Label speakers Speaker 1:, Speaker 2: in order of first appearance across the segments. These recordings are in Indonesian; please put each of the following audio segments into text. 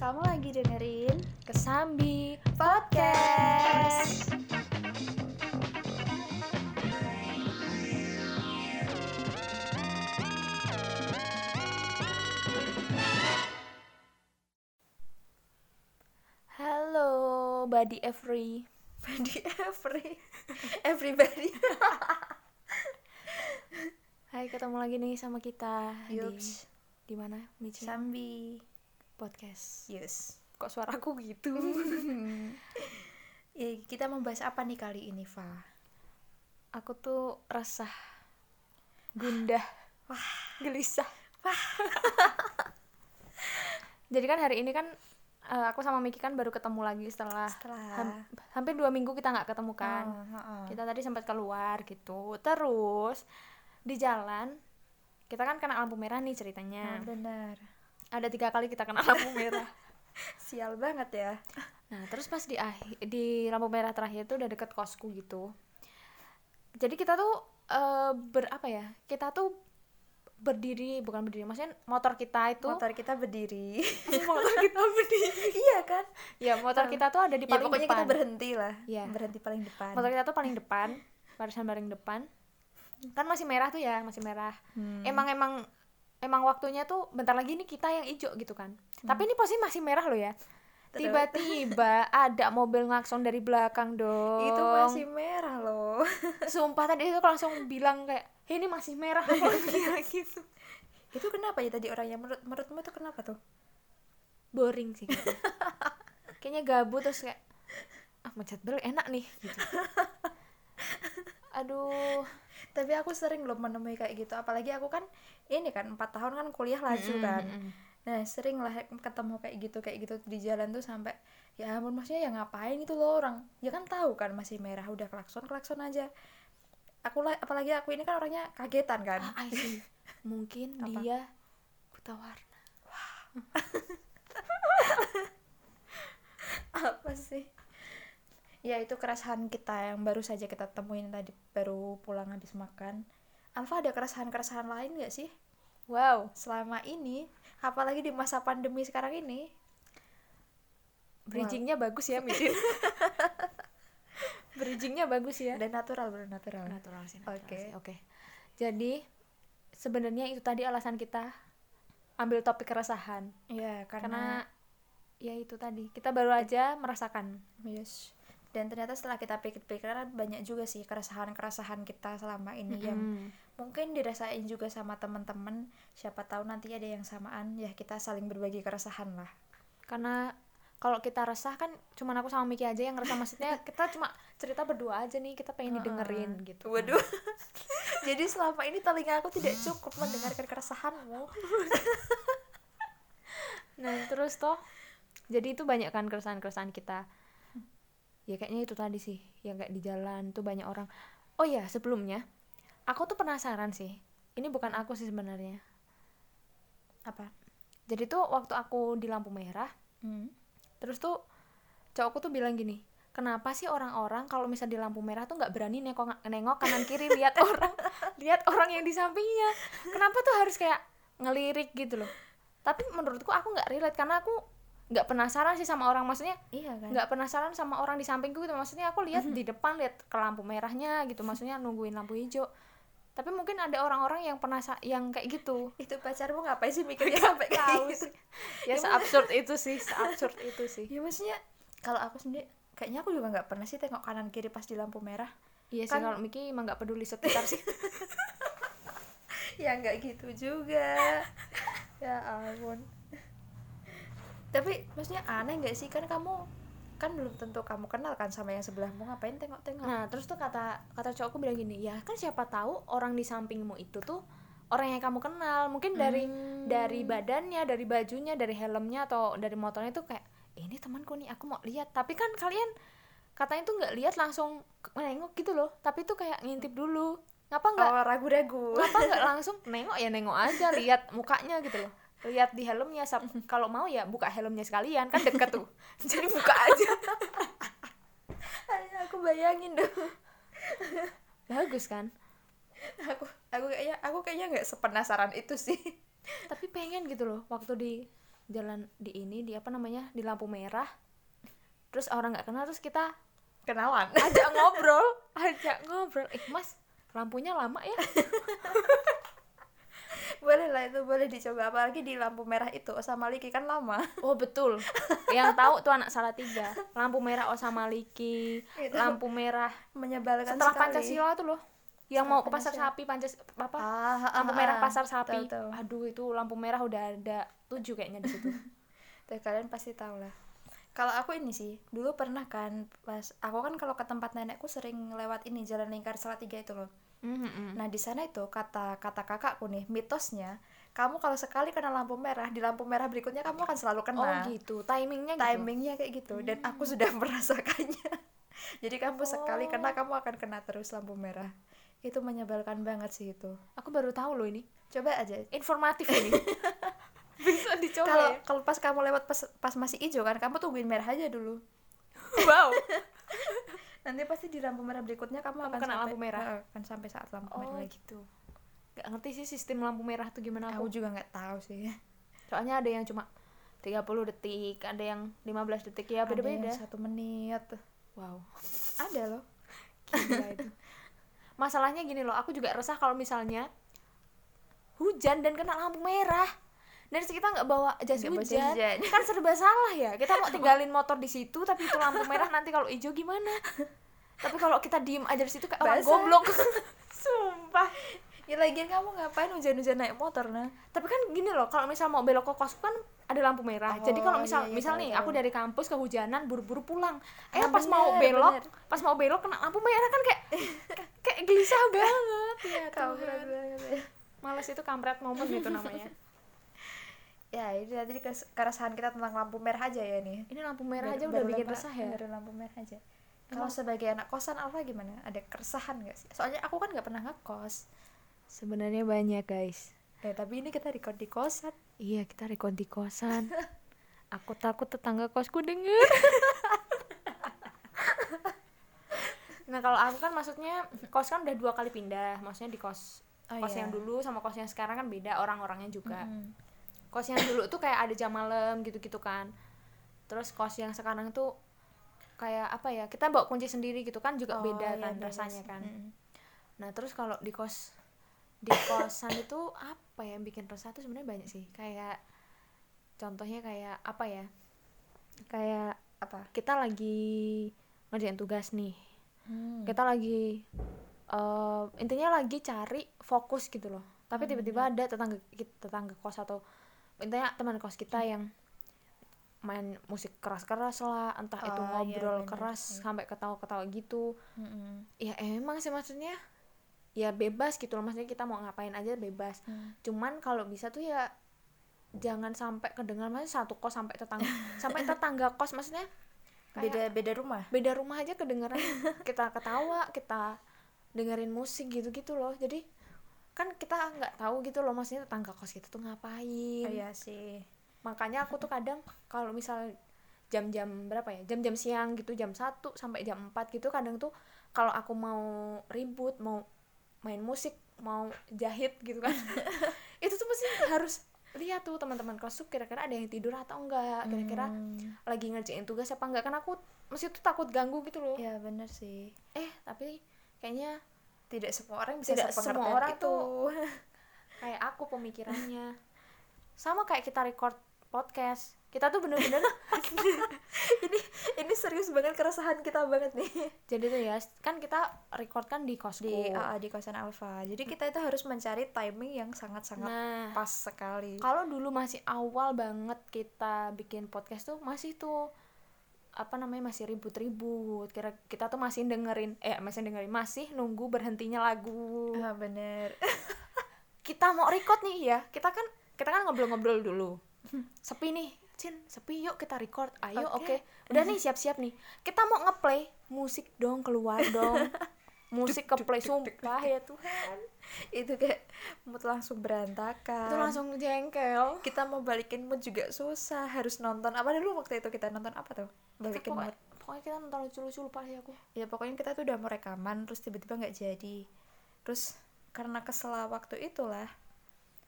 Speaker 1: Kamu lagi dengerin Kesambi Podcast. Halo, Buddy Every. Buddy Every. Everybody. Hai, ketemu lagi nih sama kita
Speaker 2: Ah, Yups.
Speaker 1: di di mana? Michi
Speaker 2: Sambi.
Speaker 1: Podcast.
Speaker 2: Yes.
Speaker 1: Kok suaraku gitu?
Speaker 2: Ya, kita membahas apa nih kali ini, Fa?
Speaker 1: aku tuh resah gundah wah gelisah jadi kan hari ini kan eh, aku sama Miki kan baru ketemu lagi setelah,
Speaker 2: Setelah
Speaker 1: ham- hampir dua minggu kita nggak ketemu kan
Speaker 2: Oh, heeh.
Speaker 1: kita tadi sempat keluar gitu terus di jalan kita kan kena lampu merah nih
Speaker 2: Nah,
Speaker 1: ceritanya
Speaker 2: benar.
Speaker 1: ada tiga kali kita kena lampu merah
Speaker 2: Sial banget ya.
Speaker 1: Nah, terus pas di akhir, di lampu merah terakhir itu udah deket kosku gitu. Jadi kita tuh eh, ber apa ya? Kita tuh berdiri, bukan berdiri, maksudnya motor kita itu
Speaker 2: Motor kita berdiri.
Speaker 1: motor kita berdiri.
Speaker 2: iya kan?
Speaker 1: Ya, motor kita tuh ada di
Speaker 2: Ya,
Speaker 1: paling
Speaker 2: pokoknya
Speaker 1: depan.
Speaker 2: kita berhenti lah.
Speaker 1: Iya.
Speaker 2: Berhenti paling depan.
Speaker 1: motor kita tuh paling depan, barisan paling depan. Kan masih merah tuh ya, masih merah.
Speaker 2: Hmm.
Speaker 1: Emang emang emang waktunya tuh bentar lagi nih kita yang ijo gitu kan.
Speaker 2: Hmm.
Speaker 1: Tapi ini posisi masih merah loh ya.
Speaker 2: Terus?
Speaker 1: Tiba-tiba ada mobil ngakson dari belakang dong.
Speaker 2: Itu masih merah loh.
Speaker 1: sumpah tadi itu aku langsung bilang kayak "Hei, ini masih merah aku langsung bilang gitu
Speaker 2: itu kenapa ya tadi orang yang menurut menurutmu itu kenapa tuh?
Speaker 1: boring sih kayaknya. kayaknya gabut terus kayak ah macet bel enak nih gitu aduh
Speaker 2: Tapi aku sering loh menemui kayak gitu. Apalagi aku kan ini kan empat tahun kan kuliah laju
Speaker 1: Hmm,
Speaker 2: kan. Nah, sering lah ketemu kayak gitu, kayak gitu di jalan tuh sampai ya ampun maksudnya ya ngapain itu loh orang. Ya kan tahu kan masih merah udah klakson, klakson aja. Aku lah apalagi aku ini kan orangnya kagetan kan.
Speaker 1: ah I see. mungkin
Speaker 2: Apa?
Speaker 1: dia buta warna
Speaker 2: Apa sih? Ya itu keresahan kita yang baru saja kita temuin tadi baru pulang habis makan. Alfa ada keresahan-keresahan lain gak sih
Speaker 1: wow
Speaker 2: selama ini? Apalagi di masa pandemi sekarang ini?
Speaker 1: bridgingnya bagus ya Mitin bridgingnya bagus ya
Speaker 2: Dan natural, bener natural.
Speaker 1: natural sih natural
Speaker 2: Oke.
Speaker 1: sih. oke jadi sebenarnya itu tadi alasan kita ambil topik keresahan
Speaker 2: Iya, karena
Speaker 1: karena ya itu tadi kita baru aja merasakan
Speaker 2: Yes. Dan ternyata setelah kita pikir-pikir kan banyak juga sih keresahan-keresahan kita selama ini
Speaker 1: ya.
Speaker 2: yang mungkin dirasain juga sama teman-teman. Siapa tahu nanti ada yang samaan ya kita saling berbagi keresahan lah.
Speaker 1: karena kalau kita resah kan cuman aku sama Miki aja yang resah maksudnya kita cuma cerita berdua aja nih kita pengen didengerin gitu
Speaker 2: Waduh. Jadi selama ini telinga aku tidak cukup mendengarkan keresahanmu.
Speaker 1: nah terus toh jadi itu banyak kan keresahan keresahan kita ya kayaknya itu tadi sih yang kayak di jalan tuh banyak orang oh ya sebelumnya aku tuh penasaran sih ini bukan aku sih sebenarnya
Speaker 2: Apa?
Speaker 1: jadi tuh waktu aku di lampu merah Terus tuh cowokku tuh bilang gini, kenapa sih orang-orang kalau misal di lampu merah tuh nggak berani nengok nengok kanan kiri lihat orang lihat orang yang di sampingnya. Kenapa tuh harus kayak ngelirik gitu loh. Tapi menurutku aku nggak relate karena aku nggak penasaran sih sama orang maksudnya
Speaker 2: Iya kan?
Speaker 1: nggak penasaran sama orang di sampingku gitu maksudnya aku lihat di depan lihat ke lampu merahnya gitu maksudnya nungguin lampu hijau tapi mungkin ada orang-orang yang penasa yang kayak gitu
Speaker 2: Itu pacarmu ngapain sih mikirnya sampai
Speaker 1: tahu
Speaker 2: tahu
Speaker 1: sih ya seabsurd itu sih seabsurd itu sih
Speaker 2: Ya maksudnya kalau aku sendiri kayaknya aku juga nggak pernah sih tengok kanan kiri pas di lampu merah.
Speaker 1: Iya sih
Speaker 2: Kan-
Speaker 1: kalau Miki emang nggak peduli sekitar sih.
Speaker 2: ya nggak gitu juga ya ampun tapi maksudnya aneh nggak sih kan kamu kan belum tentu kamu kenal kan sama yang sebelahmu ngapain tengok-tengok
Speaker 1: Nah terus tuh kata kata cowokku bilang gini, ya kan siapa tahu orang di sampingmu itu tuh orang yang kamu kenal, mungkin dari dari badannya, dari bajunya, dari helmnya atau dari motornya tuh kayak "Eh, ini temanku nih aku mau lihat. Tapi kan kalian katanya tuh nggak lihat langsung ke- nengok gitu loh, tapi tuh kayak ngintip dulu. Ngapa nggak?
Speaker 2: awal Oh, ragu-ragu
Speaker 1: Ngapa nggak langsung nengok ya nengok aja lihat mukanya gitu loh lihat di helmnya sab- kalau mau ya buka helmnya sekalian kan deket tuh jadi buka aja
Speaker 2: Ay, aku bayangin dong
Speaker 1: bagus kan
Speaker 2: aku aku kayaknya aku kayaknya nggak sepenasaran itu sih
Speaker 1: tapi pengen gitu loh waktu di jalan di ini di apa namanya di lampu merah terus orang nggak kenal terus kita
Speaker 2: kenalan
Speaker 1: ajak ngobrol ajak ngobrol eh mas lampunya lama ya
Speaker 2: boleh lah itu boleh dicoba apalagi di lampu merah itu Osamaliki kan lama
Speaker 1: oh betul yang tahu tuh anak salah tiga lampu merah Osamaliki
Speaker 2: Itu
Speaker 1: lampu merah
Speaker 2: menyebalkan
Speaker 1: setelah
Speaker 2: sekali.
Speaker 1: Pancasila tuh loh yang mau
Speaker 2: Setelah
Speaker 1: ke pasar
Speaker 2: Pancasila.
Speaker 1: sapi Pancas apa
Speaker 2: Ah, ah,
Speaker 1: lampu
Speaker 2: ah,
Speaker 1: merah
Speaker 2: ah.
Speaker 1: pasar sapi
Speaker 2: Tahu, tahu.
Speaker 1: aduh itu lampu merah udah ada tujuh kayaknya di situ
Speaker 2: Tuh, kalian pasti tahu lah kalau aku ini sih dulu pernah kan pas aku kan kalau ke tempat nenekku sering lewat ini jalan lingkar Salatiga itu loh
Speaker 1: Mhm.
Speaker 2: nah di sana itu kata kata kakakku nih mitosnya kamu kalau sekali kena lampu merah di lampu merah berikutnya kamu akan selalu kena
Speaker 1: oh gitu Hmm. timingnya gitu
Speaker 2: timingnya kayak gitu dan aku sudah merasakannya jadi kamu
Speaker 1: Oh.
Speaker 2: sekali kena kamu akan kena terus lampu merah itu menyebalkan banget sih itu
Speaker 1: aku baru tahu loh ini
Speaker 2: coba aja
Speaker 1: informatif ini bisa dicoba
Speaker 2: kalau
Speaker 1: ya.
Speaker 2: kalau pas kamu lewat pas, pas masih hijau kan kamu tungguin merah aja dulu
Speaker 1: wow
Speaker 2: nanti pasti di lampu merah berikutnya kamu, akan
Speaker 1: kena
Speaker 2: sampai,
Speaker 1: lampu merah?
Speaker 2: Eh, akan sampai saat lampu merah
Speaker 1: oh
Speaker 2: lagi
Speaker 1: gitu nggak ngerti sih sistem lampu Ya, merah tuh gimana aku
Speaker 2: aku juga nggak tahu sih
Speaker 1: soalnya ada yang cuma 30 detik ada yang 15 detik ya
Speaker 2: Ada yang
Speaker 1: beda-beda
Speaker 2: satu menit
Speaker 1: wow
Speaker 2: ada loh
Speaker 1: Gila itu. Masalahnya gini loh, aku juga resah kalau misalnya hujan dan kena lampu merah. Dan kita nggak bawa jas
Speaker 2: Nggak bawa jas
Speaker 1: hujan.
Speaker 2: hujan.
Speaker 1: Kan serba salah ya. Kita mau tinggalin motor di situ tapi itu lampu merah nanti kalau hijau gimana? Tapi kalau kita diem aja di situ kayak orang
Speaker 2: Basah.
Speaker 1: goblok. Sumpah.
Speaker 2: ya lagian kamu ngapain hujan-hujan naik motor nah
Speaker 1: Tapi kan gini loh, kalau misal mau belok ke kosku kan ada lampu merah. Jadi
Speaker 2: Oh,
Speaker 1: kalau misal
Speaker 2: iya, iya,
Speaker 1: misal
Speaker 2: tahu,
Speaker 1: nih
Speaker 2: tahu.
Speaker 1: aku dari kampus kehujanan buru-buru pulang. Eh
Speaker 2: Ah,
Speaker 1: pas mau
Speaker 2: bener,
Speaker 1: belok,
Speaker 2: bener.
Speaker 1: pas mau belok kena lampu merah kan kayak kayak gelisah banget. Ya
Speaker 2: Kamu
Speaker 1: Tuhan.
Speaker 2: berat banget.
Speaker 1: Males itu kampret momen itu namanya.
Speaker 2: ya ini tadi kes- keresahan kita tentang lampu merah aja ya nih
Speaker 1: Ini lampu merah
Speaker 2: Baru-
Speaker 1: aja udah
Speaker 2: baru
Speaker 1: bikin
Speaker 2: lempar-
Speaker 1: resah ya.
Speaker 2: baru lampu merah aja kalau sebagai anak kosan Alfa gimana ada keresahan gak sih soalnya aku kan nggak pernah ngekos
Speaker 1: Sebenarnya banyak, guys.
Speaker 2: ya tapi ini kita record di kosan
Speaker 1: Iya, kita record di kosan. Aku takut tetangga kosku denger. nah, kalau aku kan maksudnya kos kan udah dua kali pindah. Maksudnya di kos
Speaker 2: Oh,
Speaker 1: kos yang
Speaker 2: iya.
Speaker 1: dulu sama kos yang sekarang kan beda orang-orangnya juga.
Speaker 2: Mm.
Speaker 1: Kos yang dulu tuh kayak ada jam malam gitu-gitu kan. Terus kos yang sekarang tuh kayak apa ya? Kita bawa kunci sendiri gitu kan juga
Speaker 2: Oh,
Speaker 1: beda
Speaker 2: iya,
Speaker 1: kan
Speaker 2: beda
Speaker 1: rasanya
Speaker 2: sih.
Speaker 1: kan.
Speaker 2: Mm.
Speaker 1: Nah, terus kalau di kos di kosan itu apa yang bikin resah tuh sebenarnya banyak sih. Kayak contohnya kayak apa ya? Kayak
Speaker 2: apa
Speaker 1: kita lagi ngerjain tugas nih.
Speaker 2: Hmm.
Speaker 1: Kita lagi eh, intinya lagi cari fokus gitu loh.
Speaker 2: Hmm,
Speaker 1: Tapi
Speaker 2: iya.
Speaker 1: tiba-tiba ada tetangga ki- tetangga kos atau intinya teman kos
Speaker 2: Hmm.
Speaker 1: kita yang main musik keras-keras lah, entah itu
Speaker 2: Oh, iya,
Speaker 1: ngobrol
Speaker 2: bener.
Speaker 1: keras sampai ketawa-ketawa gitu
Speaker 2: Mm-mm.
Speaker 1: ya emang sih maksudnya ya bebas gitu loh maksudnya kita mau ngapain aja bebas
Speaker 2: Hmm.
Speaker 1: cuman kalau bisa tuh ya jangan sampai kedengaran maksudnya satu kos sampai tetangga sampai tetangga kos maksudnya kayak
Speaker 2: beda beda rumah
Speaker 1: beda rumah aja kedengaran kita ketawa kita dengerin musik gitu gitu loh jadi kan kita nggak tahu gitu loh maksudnya tetangga kos kita tuh ngapain
Speaker 2: oh, iya sih
Speaker 1: makanya aku tuh kadang kalau misal jam-jam berapa ya jam-jam siang gitu jam 1 sampai jam 4 gitu kadang tuh kalau aku mau ribut mau main musik mau jahit gitu kan itu tuh pasti harus lihat tuh teman-teman kelas tuh kira-kira ada yang tidur atau enggak kira-kira
Speaker 2: Hmm.
Speaker 1: lagi ngerjain tugas apa enggak kan aku mesti tuh takut ganggu gitu loh
Speaker 2: ya bener sih
Speaker 1: eh tapi kayaknya
Speaker 2: tidak semua orang bisa
Speaker 1: Tidak
Speaker 2: sepengertian
Speaker 1: semua orang
Speaker 2: itu.
Speaker 1: tuh- kayak aku pemikirannya sama kayak kita record podcast kita tuh bener-bener
Speaker 2: ini ini serius banget keresahan kita banget nih
Speaker 1: jadi tuh ya kan kita record kan di kosku
Speaker 2: di ah, AA di kosan Alfa. Jadi kita itu harus mencari timing yang sangat-sangat
Speaker 1: nah
Speaker 2: pas sekali.
Speaker 1: kalau dulu masih awal banget kita bikin podcast tuh masih tuh apa namanya masih ribut-ribut kira kita tuh masih dengerin eh masih dengerin masih nunggu berhentinya lagu
Speaker 2: Ah, bener.
Speaker 1: kita mau record nih ya kita kan kita kan ngobrol-ngobrol dulu sepi nih Cin sepi yuk kita record ayo oke
Speaker 2: Oke.
Speaker 1: udah nih siap-siap nih kita mau ngeplay musik dong keluar dong musik ke play sumpah ya Tuhan
Speaker 2: itu kayak mood langsung berantakan.
Speaker 1: itu langsung jengkel
Speaker 2: kita mau balikin mood juga susah. Harus nonton apa dulu waktu itu kita nonton apa tuh?
Speaker 1: Kita
Speaker 2: Balikin
Speaker 1: pokoknya,
Speaker 2: mood.
Speaker 1: pokoknya kita nonton lucu-lucu lupa sih aku
Speaker 2: Ya pokoknya kita tuh udah mau rekaman terus tiba-tiba nggak jadi. Terus karena kesela waktu itulah.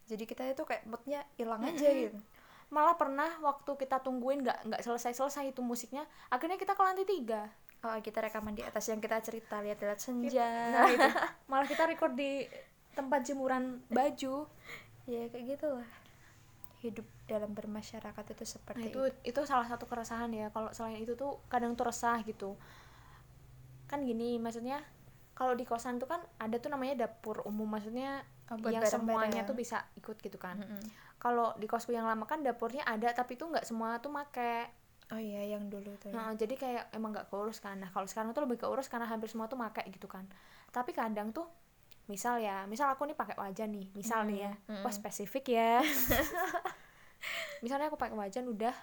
Speaker 2: Jadi kita itu kayak moodnya hilang aja gitu.
Speaker 1: malah pernah waktu kita tungguin nggak nggak selesai selesai itu musiknya akhirnya kita ke lantai tiga
Speaker 2: oh kita rekaman di atas yang kita cerita lihat-lihat senja
Speaker 1: nah
Speaker 2: gitu.
Speaker 1: itu malah kita record di tempat jemuran baju
Speaker 2: ya kayak gitulah hidup dalam bermasyarakat itu seperti
Speaker 1: nah itu itu salah satu keresahan ya kalau selain itu tuh kadang tuh resah gitu kan gini maksudnya kalau di kosan tuh kan ada tuh namanya dapur umum maksudnya
Speaker 2: Oh, buat
Speaker 1: yang
Speaker 2: bareng-bareng. Hmm.
Speaker 1: semuanya tuh bisa ikut gitu kan
Speaker 2: Mm-mm.
Speaker 1: kalau di kosku yang lama kan dapurnya ada tapi tuh nggak semua tuh make
Speaker 2: oh iya yang dulu tuh ya.
Speaker 1: Nah, jadi kayak emang nggak keurus kan nah kalau sekarang tuh lebih keurus karena hampir semua tuh make gitu kan tapi kadang tuh misal ya misal aku nih pakai wajan nih misal nih ya
Speaker 2: Mm, mm.
Speaker 1: wah spesifik ya misalnya aku pakai wajan udah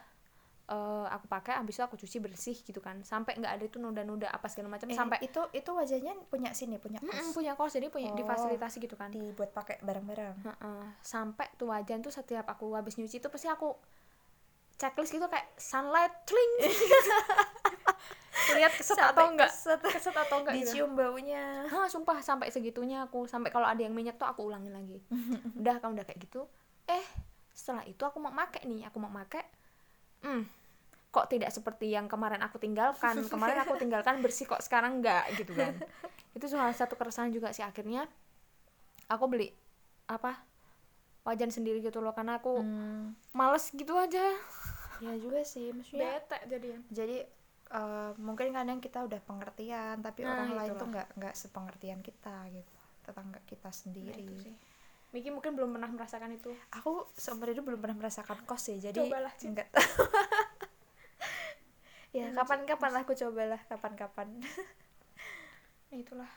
Speaker 1: eh, aku pakai habis itu aku cuci bersih gitu kan sampai nggak ada tuh noda-noda apa segala macam
Speaker 2: Eh,
Speaker 1: sampai
Speaker 2: itu itu wajahnya punya sini punya
Speaker 1: Mm-mm,
Speaker 2: kos
Speaker 1: punya kos jadi punya
Speaker 2: Oh.
Speaker 1: difasilitasi gitu kan
Speaker 2: dibuat pakai bareng-bareng
Speaker 1: Heeh, sampai tuh wajan tuh setiap aku habis nyuci tuh pasti aku checklist gitu kayak sunlight cling lihat keset atau
Speaker 2: Sampai
Speaker 1: enggak
Speaker 2: keset.
Speaker 1: keset atau enggak gitu.
Speaker 2: dicium baunya
Speaker 1: Hah, sumpah sampai segitunya aku sampai kalau ada yang minyak tuh aku ulangin lagi udah kalau udah kayak gitu eh setelah itu aku mau make nih aku mau make hmm, kok tidak seperti yang kemarin aku tinggalkan kemarin aku tinggalkan bersih kok sekarang enggak gitu kan itu salah satu keresahan juga sih akhirnya aku beli apa wajan sendiri gitu loh karena aku
Speaker 2: Hmm,
Speaker 1: males gitu aja
Speaker 2: ya juga sih maksudnya
Speaker 1: bete jadian
Speaker 2: jadi eh, mungkin kadang kita udah pengertian tapi
Speaker 1: Nah,
Speaker 2: orang lain
Speaker 1: itulah.
Speaker 2: tuh nggak nggak sepengertian kita gitu tetangga kita sendiri
Speaker 1: Nah, Miki mungkin belum pernah merasakan itu
Speaker 2: aku seumur hidup belum pernah merasakan kos sih jadi
Speaker 1: Cobalah, Cit.
Speaker 2: nggak tahu ya
Speaker 1: Emang, Cit,
Speaker 2: kapan-kapan lah aku cobalah kapan-kapan
Speaker 1: Ya, itulah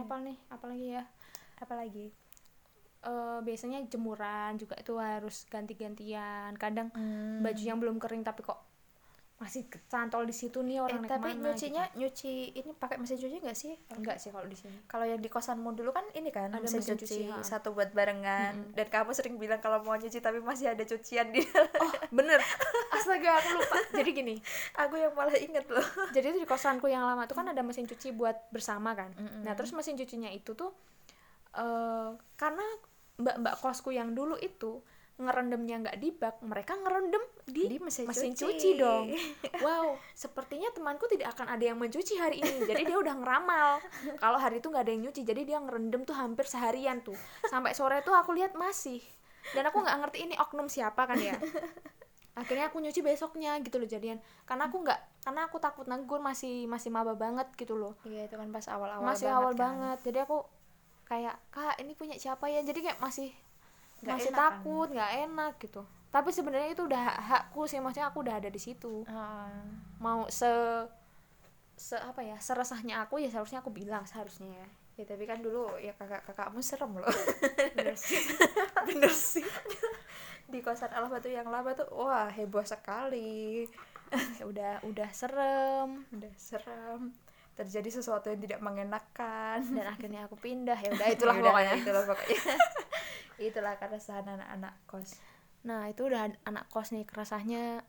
Speaker 1: apa nih apalagi ya
Speaker 2: apalagi
Speaker 1: Eh, biasanya jemuran juga itu harus ganti-gantian kadang
Speaker 2: Hmm.
Speaker 1: baju yang belum kering tapi kok masih kecantol di situ nih
Speaker 2: eh,
Speaker 1: orang naik
Speaker 2: tapi
Speaker 1: mana,
Speaker 2: nyucinya nyuci ini pakai mesin cuci gitu. nggak sih
Speaker 1: gitu. enggak sih kalau di sini
Speaker 2: kalau yang di kosanmu dulu kan ini kan
Speaker 1: Ada
Speaker 2: mesin
Speaker 1: mesin
Speaker 2: cuci,
Speaker 1: cuci, ha.
Speaker 2: satu buat barengan
Speaker 1: Mm-mm.
Speaker 2: dan kamu sering bilang kalau mau nyuci tapi masih ada cucian di dalam.
Speaker 1: oh bener astaga aku lupa jadi gini
Speaker 2: aku yang malah inget loh
Speaker 1: jadi itu di kosanku yang lama tuh kan ada mesin cuci buat bersama kan
Speaker 2: Mm-mm.
Speaker 1: nah terus mesin cucinya itu tuh eh karena mbak-mbak kosku yang dulu itu ngerendamnya nggak di bak mereka ngerendam di,
Speaker 2: Di mesin
Speaker 1: mesin
Speaker 2: cuci.
Speaker 1: cuci dong wow sepertinya temanku tidak akan ada yang mencuci hari ini jadi dia udah ngeramal kalau hari itu nggak ada yang nyuci jadi dia ngerendam tuh hampir seharian tuh sampai sore tuh aku lihat masih dan aku nggak ngerti ini oknum siapa kan ya akhirnya aku nyuci besoknya gitu loh jadian karena aku nggak karena aku takut negur masih masih maba banget gitu loh
Speaker 2: iya itu kan pas awal-awal
Speaker 1: masih
Speaker 2: banget
Speaker 1: awal
Speaker 2: kan.
Speaker 1: banget jadi aku kayak kak ini punya siapa ya jadi kayak masih
Speaker 2: Nggak
Speaker 1: masih
Speaker 2: enak kan?
Speaker 1: takut nggak enak gitu tapi sebenarnya itu udah hak- hakku sih maksudnya aku udah ada di situ
Speaker 2: Heeh.
Speaker 1: mau se se apa ya seresahnya aku ya seharusnya aku bilang seharusnya ya
Speaker 2: ya tapi kan dulu ya kakak kakakmu serem loh
Speaker 1: Bener sih.
Speaker 2: bener sih di kosan Allah batu yang lama tuh wah heboh sekali
Speaker 1: Ya udah udah serem
Speaker 2: udah serem terjadi sesuatu yang tidak mengenakan
Speaker 1: dan akhirnya aku pindah ya udah
Speaker 2: Ya,
Speaker 1: itulah pokoknya
Speaker 2: itulah pokoknya itulah keresahan anak-anak kos
Speaker 1: Nah, itu udah an- anak kos nih kerasahnya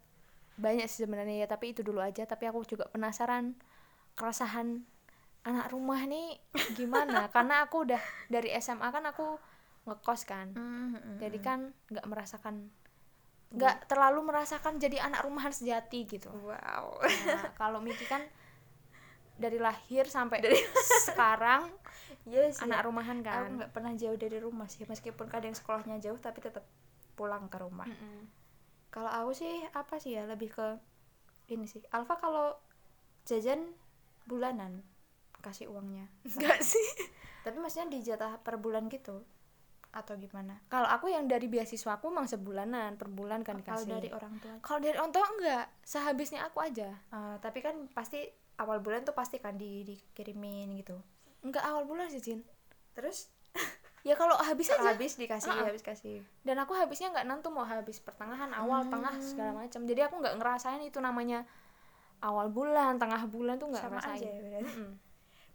Speaker 1: banyak sih sebenarnya ya, tapi itu dulu aja. Tapi aku juga penasaran keresahan anak rumah nih gimana? Karena aku udah dari SMA kan aku ngekos kan.
Speaker 2: Hmm,
Speaker 1: Jadi kan nggak merasakan nggak terlalu merasakan jadi anak rumahan sejati gitu.
Speaker 2: wow
Speaker 1: Nah, kalau Miki kan dari lahir sampai dari sekarang
Speaker 2: yes
Speaker 1: anak rumahan
Speaker 2: Iya. aku
Speaker 1: kan.
Speaker 2: nggak pernah jauh dari rumah sih meskipun kadang sekolahnya jauh tapi tetap pulang ke rumah
Speaker 1: Mm-mm.
Speaker 2: kalau aku sih apa sih ya lebih ke ini sih Alfa kalau jajan bulanan kasih uangnya
Speaker 1: Nggak sih.
Speaker 2: tapi maksudnya dijatah per bulan gitu atau gimana
Speaker 1: Kalau aku yang dari beasiswa aku emang sebulanan, per bulan kan
Speaker 2: Oh, kalau
Speaker 1: dikasih.
Speaker 2: dari orang tua
Speaker 1: Kalau dari onto enggak, sehabisnya aku aja.
Speaker 2: Eh, tapi kan pasti awal bulan tuh pasti kan di dikirimin gitu
Speaker 1: Enggak awal bulan sih, Jin.
Speaker 2: terus
Speaker 1: Ya kalau habis aja.
Speaker 2: habis dikasih
Speaker 1: Ah, ah.
Speaker 2: habis kasih
Speaker 1: Dan aku habisnya enggak nentu mau habis pertengahan, awal,
Speaker 2: Hmm.
Speaker 1: tengah segala macam. Jadi aku enggak ngerasain itu namanya awal bulan, tengah bulan tuh enggak
Speaker 2: sama
Speaker 1: ngerasain.
Speaker 2: aja ya berarti
Speaker 1: Mm-mm.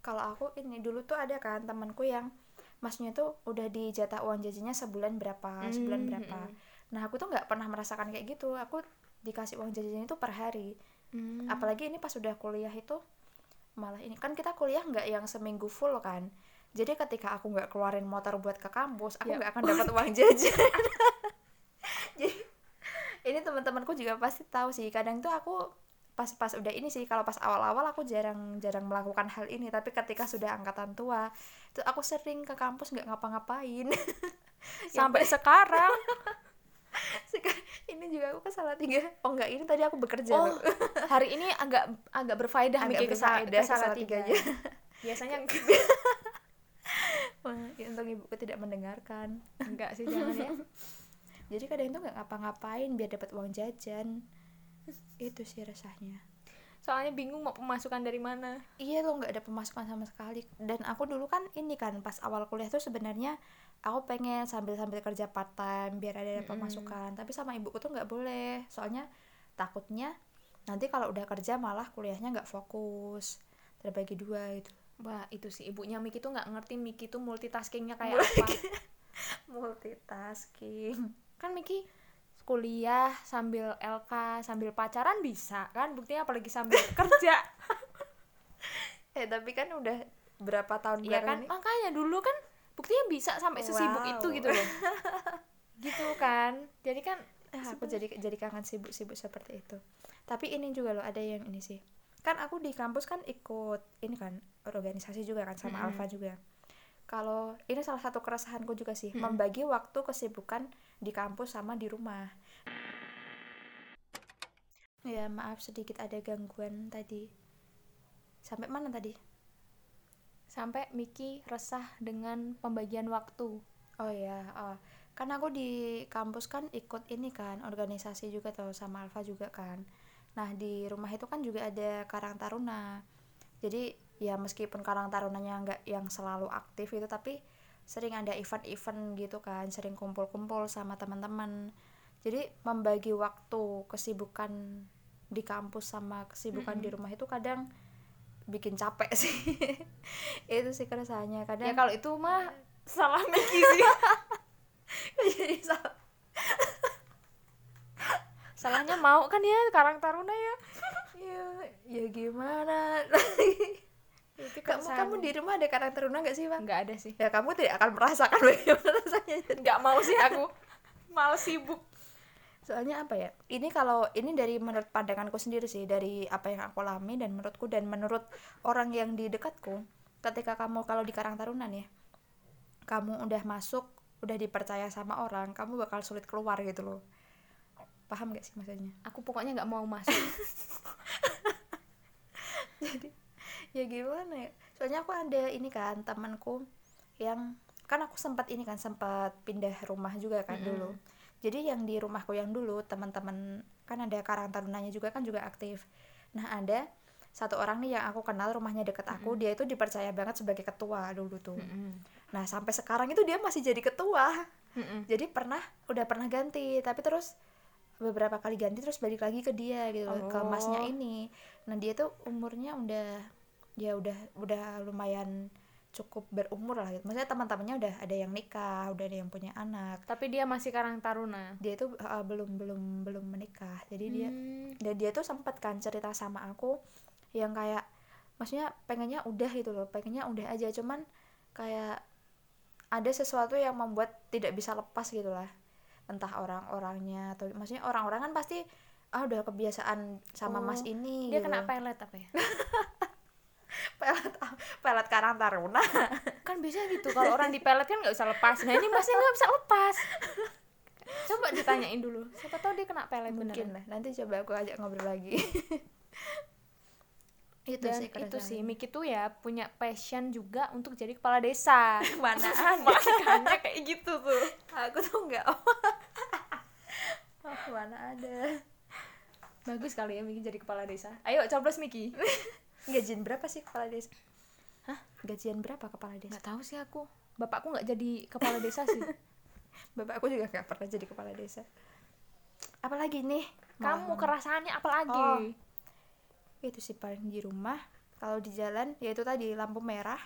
Speaker 2: kalau aku ini dulu tuh ada kan temanku yang masnya tuh udah dijatah uang jajannya sebulan berapa sebulan
Speaker 1: Hmm,
Speaker 2: berapa
Speaker 1: hmm,
Speaker 2: nah aku tuh nggak pernah merasakan kayak gitu aku dikasih uang jajan itu per hari
Speaker 1: Hmm.
Speaker 2: apalagi ini pas udah kuliah itu malah ini kan kita kuliah nggak yang seminggu full kan jadi ketika aku nggak keluarin motor buat ke kampus aku
Speaker 1: Ya.
Speaker 2: nggak akan dapat uang jajan jadi ini ini teman-temanku juga pasti tahu sih kadang tuh aku pas-pas udah ini sih kalau pas awal-awal aku jarang-jarang melakukan hal ini tapi ketika sudah angkatan tua tuh aku sering ke kampus nggak ngapa-ngapain Ya
Speaker 1: sampai sekarang
Speaker 2: Sek- ini juga aku ke tiga oh enggak ini tadi aku bekerja
Speaker 1: oh
Speaker 2: loh
Speaker 1: hari ini agak agak berfaedah ya.
Speaker 2: Agak
Speaker 1: mikir ke Sa-
Speaker 2: berfaedah
Speaker 1: ke
Speaker 2: ke
Speaker 1: Salatiga.
Speaker 2: Salatiga.
Speaker 1: biasanya
Speaker 2: Wah, ya untung ibuku tidak mendengarkan
Speaker 1: enggak sih jangan ya
Speaker 2: jadi kadang itu nggak ngapa-ngapain biar dapat uang jajan itu sih resahnya
Speaker 1: soalnya bingung mau pemasukan dari mana
Speaker 2: iya loh nggak ada pemasukan sama sekali dan aku dulu kan ini kan pas awal kuliah tuh sebenarnya aku pengen sambil sambil kerja part time biar ada pemasukan tapi sama ibuku tuh nggak boleh soalnya takutnya nanti kalau udah kerja malah kuliahnya nggak fokus terbagi dua gitu
Speaker 1: wah itu sih ibunya Miki tuh nggak ngerti Miki tuh multitaskingnya kayak apa
Speaker 2: multitasking
Speaker 1: kan Miki kuliah sambil LK sambil pacaran bisa kan buktinya apalagi sambil kerja
Speaker 2: eh tapi kan udah berapa tahun
Speaker 1: Iya kan
Speaker 2: belakang ini
Speaker 1: makanya dulu kan buktinya bisa sampai sesibuk
Speaker 2: Wow.
Speaker 1: itu gitu loh gitu kan jadi kan
Speaker 2: Ah, aku jadi jadi kangen sibuk-sibuk seperti itu tapi ini juga loh ada yang ini sih kan aku di kampus kan ikut ini kan organisasi juga kan sama
Speaker 1: Mm-mm.
Speaker 2: Alfa juga kalau ini salah satu keresahanku juga sih membagi waktu kesibukan di kampus sama di rumah ya maaf sedikit ada gangguan tadi sampai mana tadi
Speaker 1: sampai Miki resah dengan pembagian waktu
Speaker 2: Oh ya, oh. Kan aku di kampus kan ikut ini kan, organisasi juga tuh sama Alfa juga kan. Nah, di rumah itu kan juga ada Karang Taruna. Jadi, ya meskipun Karang Tarunanya nggak yang selalu aktif itu tapi sering ada event-event gitu kan, sering kumpul-kumpul sama teman-teman. Jadi, membagi waktu kesibukan di kampus sama kesibukan di rumah itu kadang bikin capek sih. itu sih keresahannya kadang
Speaker 1: ya kalau itu mah salah Miki sih
Speaker 2: jadi salah
Speaker 1: salahnya mau kan ya Karang Taruna ya
Speaker 2: ya, ya gimana
Speaker 1: itu kan
Speaker 2: kamu kamu di rumah ada karakter Taruna nggak sih bang
Speaker 1: nggak ada sih
Speaker 2: ya kamu tidak akan merasakan bagaimana rasanya
Speaker 1: nggak mau sih aku malas sibuk
Speaker 2: soalnya apa ya ini kalau ini dari menurut pandanganku sendiri sih dari apa yang aku alami dan menurutku dan menurut orang yang di dekatku ketika kamu kalau di Karang Taruna nih ya, kamu udah masuk udah dipercaya sama orang kamu bakal sulit keluar gitu loh paham gak sih maksudnya
Speaker 1: aku pokoknya nggak mau masuk
Speaker 2: ya gimana ya soalnya aku ada ini kan temanku yang kan aku sempat ini kan sempat pindah rumah juga kan dulu jadi yang di rumahku yang dulu teman-teman kan ada karang tarunanya juga kan juga aktif nah ada satu orang nih yang aku kenal rumahnya deket aku dia itu dipercaya banget sebagai ketua dulu tuh
Speaker 1: Mm.
Speaker 2: nah sampai sekarang itu dia masih jadi ketua
Speaker 1: Mm-mm.
Speaker 2: jadi pernah udah pernah ganti tapi terus beberapa kali ganti terus balik lagi ke dia gitu loh, ke masnya
Speaker 1: Oh.
Speaker 2: ini nah dia tuh umurnya udah ya udah udah lumayan cukup berumur lah gitu. maksudnya teman-temannya udah ada yang nikah udah ada yang punya anak
Speaker 1: tapi dia masih Karang Taruna
Speaker 2: dia itu uh, belum belum belum menikah jadi dia
Speaker 1: Hmm.
Speaker 2: dan dia tuh sempat kan cerita sama aku yang kayak maksudnya pengennya udah gitu loh pengennya udah aja cuman kayak ada sesuatu yang membuat tidak bisa lepas gitu lah entah orang-orangnya atau maksudnya orang-orang kan pasti ah udah kebiasaan
Speaker 1: Oh,
Speaker 2: sama mas ini
Speaker 1: dia
Speaker 2: gitu
Speaker 1: kena
Speaker 2: loh."
Speaker 1: pelet apa ya
Speaker 2: pelet pelet karang taruna
Speaker 1: kan biasanya gitu kalau orang di pelet kan nggak bisa lepas nah ini masnya nggak bisa lepas coba ditanyain dulu siapa tahu dia kena pelet
Speaker 2: mungkin
Speaker 1: beneran.
Speaker 2: lah nanti coba aku ajak ngobrol lagi itu
Speaker 1: dan
Speaker 2: sih
Speaker 1: itu sih Miki tuh ya punya passion juga untuk jadi kepala desa
Speaker 2: mana
Speaker 1: makanya kayak gitu tuh
Speaker 2: aku tuh nggak oh, mana ada
Speaker 1: bagus kali ya Miki jadi kepala desa ayo coblos Miki
Speaker 2: Gajian berapa sih kepala desa? Hah? Gajian berapa kepala desa?
Speaker 1: nggak tahu sih aku bapakku nggak jadi kepala desa sih
Speaker 2: Bapak aku juga gak pernah jadi kepala desa. Apalagi nih?
Speaker 1: kamu
Speaker 2: Mau-
Speaker 1: kerasaannya apa lagi
Speaker 2: Oh. itu sih paling di rumah. Kalau di jalan, yaitu tadi lampu merah.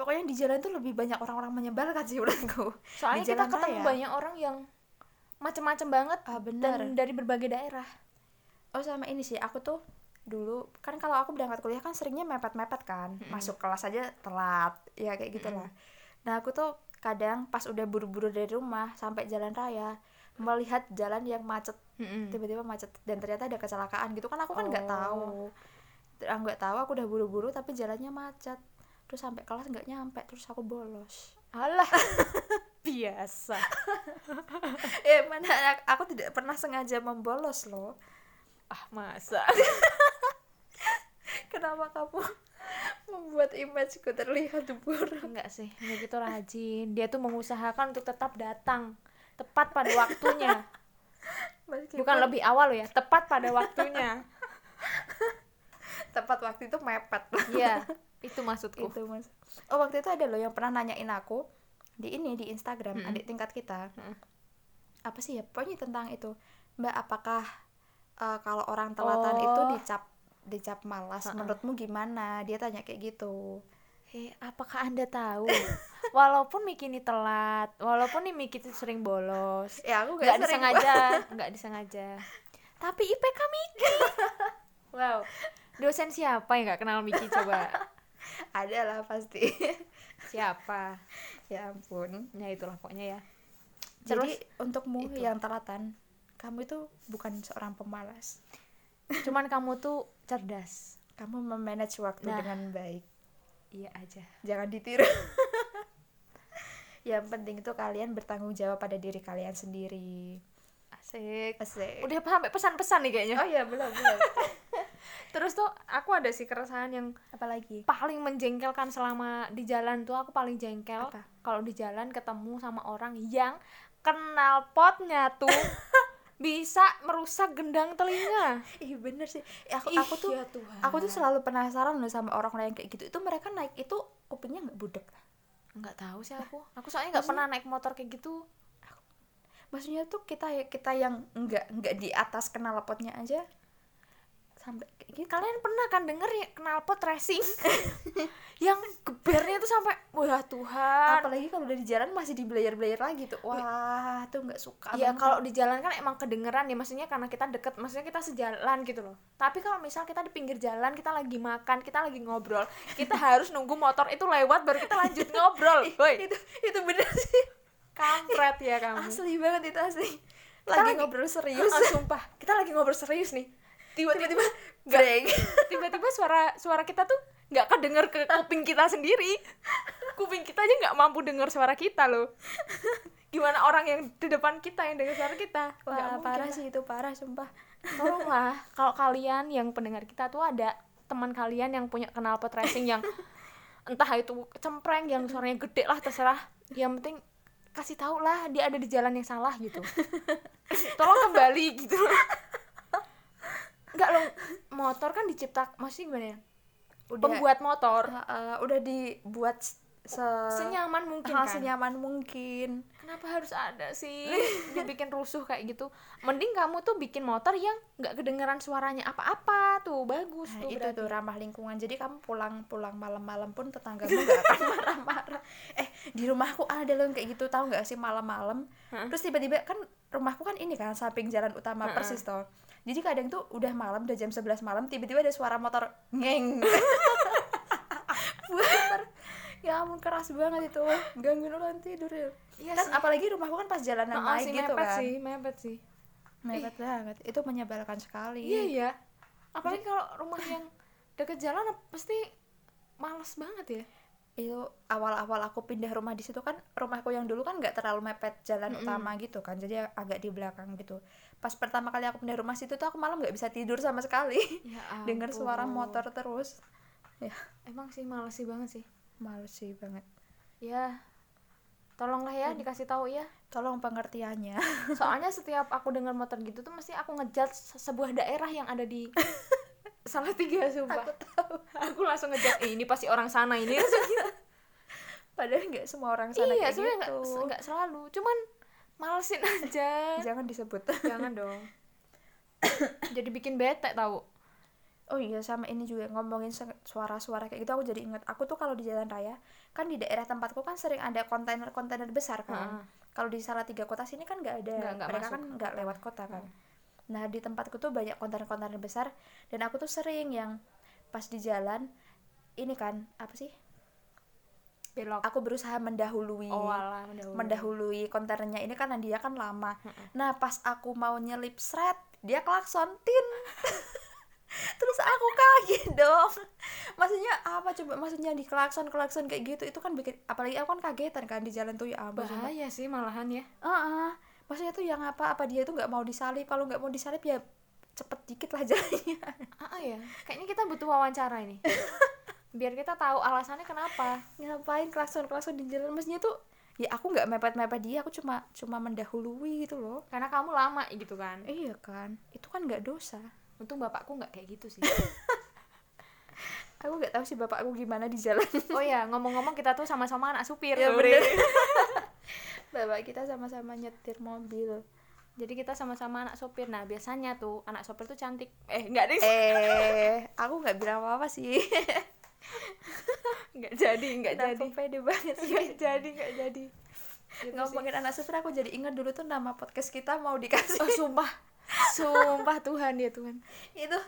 Speaker 2: Pokoknya di jalan tuh lebih banyak orang-orang menyebalkan sih menurutku.
Speaker 1: soalnya
Speaker 2: Di
Speaker 1: kita
Speaker 2: jalan
Speaker 1: ketemu
Speaker 2: raya.
Speaker 1: banyak orang yang macem-macem banget
Speaker 2: Ah, bener.
Speaker 1: dan dari berbagai daerah
Speaker 2: Oh sama ini sih, aku tuh dulu kan kalau aku berangkat kuliah kan seringnya mepet-mepet kan, masuk kelas aja telat, ya kayak gitulah. gitu Nah aku tuh kadang pas udah buru-buru dari rumah sampai jalan raya melihat jalan yang macet
Speaker 1: Mm.
Speaker 2: tiba-tiba macet dan ternyata ada kecelakaan gitu kan aku kan
Speaker 1: Oh.
Speaker 2: nggak tahu Ah, nggak tahu aku udah buru-buru tapi jalannya macet terus sampai kelas nggak nyampe terus aku bolos
Speaker 1: Alah. Biasa.
Speaker 2: eh mana aku tidak pernah sengaja membolos loh
Speaker 1: Ah, masa.
Speaker 2: kenapa kamu membuat imageku terlihat buruk
Speaker 1: Enggak sih, dia gitu rajin. Dia tuh mengusahakan untuk tetap datang tepat pada waktunya.
Speaker 2: Meskipun
Speaker 1: Bukan lebih awal loh ya, tepat pada waktunya.
Speaker 2: tepat waktu itu mepet
Speaker 1: Iya, itu maksudku.
Speaker 2: itu mas oh waktu itu ada loh yang pernah nanyain aku di ini di Instagram
Speaker 1: Mm-mm.
Speaker 2: adik tingkat kita
Speaker 1: Mm-mm.
Speaker 2: apa sih ya pokoknya tentang itu mbak apakah eh, kalau orang telatan itu
Speaker 1: Oh.
Speaker 2: dicap dicap malas
Speaker 1: Ha-ha.
Speaker 2: menurutmu gimana dia tanya kayak gitu
Speaker 1: Eh, apakah Anda tahu? Walaupun Miki ini telat, walaupun nih Miki itu sering bolos,
Speaker 2: ya aku
Speaker 1: nggak
Speaker 2: sering
Speaker 1: disengaja, nggak disengaja. Tapi IPK Miki. Wow. Dosen siapa yang nggak kenal Miki coba?
Speaker 2: ada lah pasti
Speaker 1: Siapa?
Speaker 2: ya ampun
Speaker 1: Ya itulah pokoknya ya.
Speaker 2: jadi
Speaker 1: Terus-
Speaker 2: untukmu
Speaker 1: itu.
Speaker 2: yang telatan kamu itu bukan seorang pemalas
Speaker 1: Cuman kamu tuh cerdas.
Speaker 2: kamu memanage waktu
Speaker 1: Nah.
Speaker 2: dengan baik
Speaker 1: Iya aja.
Speaker 2: jangan ditiru yang penting itu kalian bertanggung jawab pada diri kalian sendiri
Speaker 1: Asik.
Speaker 2: Asik.
Speaker 1: Udah sampai pesan-pesan nih kayaknya.
Speaker 2: oh ya belum belum
Speaker 1: Terus tuh aku ada sih keresahan yang
Speaker 2: apalagi
Speaker 1: paling menjengkelkan selama di jalan tuh aku paling jengkel
Speaker 2: Apa?
Speaker 1: kalau di jalan ketemu sama orang yang kenal potnya tuh bisa merusak gendang telinga.
Speaker 2: ih bener sih Eh, aku
Speaker 1: Ih,
Speaker 2: aku tuh
Speaker 1: ya Tuhan.
Speaker 2: aku tuh selalu penasaran loh sama orang-orang yang kayak gitu itu mereka naik itu kupingnya nggak budek
Speaker 1: Nggak tahu sih aku. Aku soalnya nggak pernah naik motor kayak gitu.
Speaker 2: maksudnya tuh kita kita yang nggak nggak di atas knalpotnya aja sampai kayak gitu
Speaker 1: Kalian pernah kan denger ya knalpot racing? yang gebernya tuh sampai wah Tuhan.
Speaker 2: apalagi kalau udah di jalan masih di belayer belayer lagi tuh wah tuh nggak suka
Speaker 1: Ya
Speaker 2: banget.
Speaker 1: kalau di jalan kan emang kedengeran ya maksudnya karena kita deket, maksudnya kita sejalan gitu loh. Tapi kalau misal kita di pinggir jalan, kita lagi makan, kita lagi ngobrol, kita harus nunggu motor itu lewat baru kita lanjut ngobrol.
Speaker 2: Iya.
Speaker 1: Woi,
Speaker 2: itu itu bener sih
Speaker 1: kampret ya kamu.
Speaker 2: asli banget itu asli
Speaker 1: Kita
Speaker 2: lagi
Speaker 1: lagi-
Speaker 2: ngobrol serius
Speaker 1: Ah, sumpah, kita lagi ngobrol serius nih. Tiba-tiba
Speaker 2: break
Speaker 1: tiba-tiba suara suara kita tuh nggak kedenger ke kuping kita sendiri. Kuping kita aja nggak mampu denger suara kita loh. Gimana orang yang di depan kita yang denger suara kita? Nggak
Speaker 2: wah
Speaker 1: mungkin
Speaker 2: parah sih itu parah sumpah
Speaker 1: tolonglah kalau kalian yang pendengar kita tuh ada teman kalian yang punya knalpot racing yang entah itu cempreng yang suaranya gede lah terserah yang penting kasih tau lah dia ada di jalan yang salah gitu tolong kembali gitu nggak loh motor kan dicipta masih gimana ya
Speaker 2: udah
Speaker 1: pembuat motor
Speaker 2: Ah, ah, udah dibuat se
Speaker 1: senyaman mungkin kan
Speaker 2: ah, senyaman mungkin
Speaker 1: kenapa harus ada sih dibikin rusuh kayak gitu mending kamu tuh bikin motor yang nggak kedengeran suaranya apa-apa tuh bagus
Speaker 2: nah,
Speaker 1: tuh
Speaker 2: itu
Speaker 1: berarti.
Speaker 2: tuh ramah lingkungan jadi kamu pulang pulang malam-malam pun tetanggamu gak akan marah-marah eh di rumahku ada loh yang kayak gitu tahu nggak sih malam-malam
Speaker 1: Hah?
Speaker 2: terus tiba-tiba kan rumahku kan ini kan samping jalan utama
Speaker 1: Heeh.
Speaker 2: persis toh jadi kadang tuh udah malam udah jam 11 malam tiba-tiba ada suara motor ngeng Buar. ya ampun keras banget itu gangguin orang tidur ya
Speaker 1: Iya
Speaker 2: kan
Speaker 1: sih.
Speaker 2: apalagi rumahku kan pas jalanan
Speaker 1: Heeh,
Speaker 2: naik
Speaker 1: sih,
Speaker 2: gitu
Speaker 1: mepet
Speaker 2: kan
Speaker 1: sih, mepet sih.
Speaker 2: mepet banget itu menyebalkan sekali
Speaker 1: Iya ya. Apalagi kalau rumah yang deket jalan pasti males banget ya.
Speaker 2: itu awal-awal aku pindah rumah di situ kan rumahku yang dulu kan nggak terlalu mepet jalan
Speaker 1: Mm-mm.
Speaker 2: utama gitu kan jadi agak di belakang gitu pas pertama kali aku pindah rumah situ tuh aku malam nggak bisa tidur sama sekali
Speaker 1: Ya
Speaker 2: dengar
Speaker 1: ampun.
Speaker 2: suara motor terus ya
Speaker 1: Emang sih males sih banget sih.
Speaker 2: males sih banget
Speaker 1: Ya. Tolonglah ya dikasih tahu ya.
Speaker 2: tolong pengertiannya
Speaker 1: Soalnya setiap aku dengar motor gitu tuh mesti aku ngejudge se- sebuah daerah yang ada di salah tiga sumpah. Aku langsung ngejudge "Eh, ini pasti orang sana ini.
Speaker 2: padahal nggak semua orang sana
Speaker 1: iya,
Speaker 2: kayak
Speaker 1: sebenarnya nggak
Speaker 2: gitu
Speaker 1: nggak selalu. Cuman malesin aja.
Speaker 2: jangan disebut
Speaker 1: Jangan dong. Jadi bikin bete tahu.
Speaker 2: oh iya sama ini juga ngomongin se- suara-suara kayak gitu aku jadi inget aku tuh kalau di jalan raya kan di daerah tempatku kan sering ada kontainer-kontainer besar kan
Speaker 1: Heeh.
Speaker 2: kalau di salah tiga kota sini kan nggak ada
Speaker 1: Nggak- nggak
Speaker 2: mereka
Speaker 1: masuk
Speaker 2: kan nggak lewat kota kan nah di tempatku tuh banyak kontainer-kontainer besar dan aku tuh sering yang pas di jalan ini kan apa sih
Speaker 1: belok
Speaker 2: aku berusaha mendahului
Speaker 1: oh alah mendahului.
Speaker 2: Gitu. mendahului konternya ini karena dia kan lama
Speaker 1: Mm-mm.
Speaker 2: nah pas aku mau nyelip seret dia klakson tin terus aku kaget dong maksudnya apa coba maksudnya di klakson klakson kayak gitu itu kan bikin apalagi aku kan kagetan kan di jalan tuh ya ampun sumpah.
Speaker 1: bahaya sih malahan ya
Speaker 2: Heeh. maksudnya tuh yang apa apa dia tuh nggak mau disalip kalau nggak mau disalip ya cepet dikit lah jalannya
Speaker 1: ah ah, ya kayaknya kita butuh wawancara ini biar kita tahu alasannya kenapa
Speaker 2: ngapain klakson klakson di jalan maksudnya tuh ya aku nggak mepet mepet dia aku cuma cuma mendahului gitu loh
Speaker 1: karena kamu lama gitu kan
Speaker 2: iya kan itu kan nggak dosa
Speaker 1: untung bapakku nggak kayak gitu sih
Speaker 2: aku nggak tahu sih bapakku gimana di jalan
Speaker 1: oh ya ngomong-ngomong kita tuh sama-sama anak supir
Speaker 2: Ya,
Speaker 1: Bre.
Speaker 2: bener. bapak kita sama-sama nyetir mobil
Speaker 1: jadi kita sama-sama anak sopir nah biasanya tuh anak sopir tuh cantik eh nggak deh
Speaker 2: eh aku nggak bilang apa apa sih
Speaker 1: nggak jadi nggak
Speaker 2: Kenapa
Speaker 1: jadi
Speaker 2: pede banget sih
Speaker 1: nggak jadi nggak jadi Gitu sih.
Speaker 2: ngomongin anak supir aku jadi inget dulu tuh nama podcast kita mau dikasih
Speaker 1: oh sumpah sumpah Tuhan ya Tuhan
Speaker 2: itu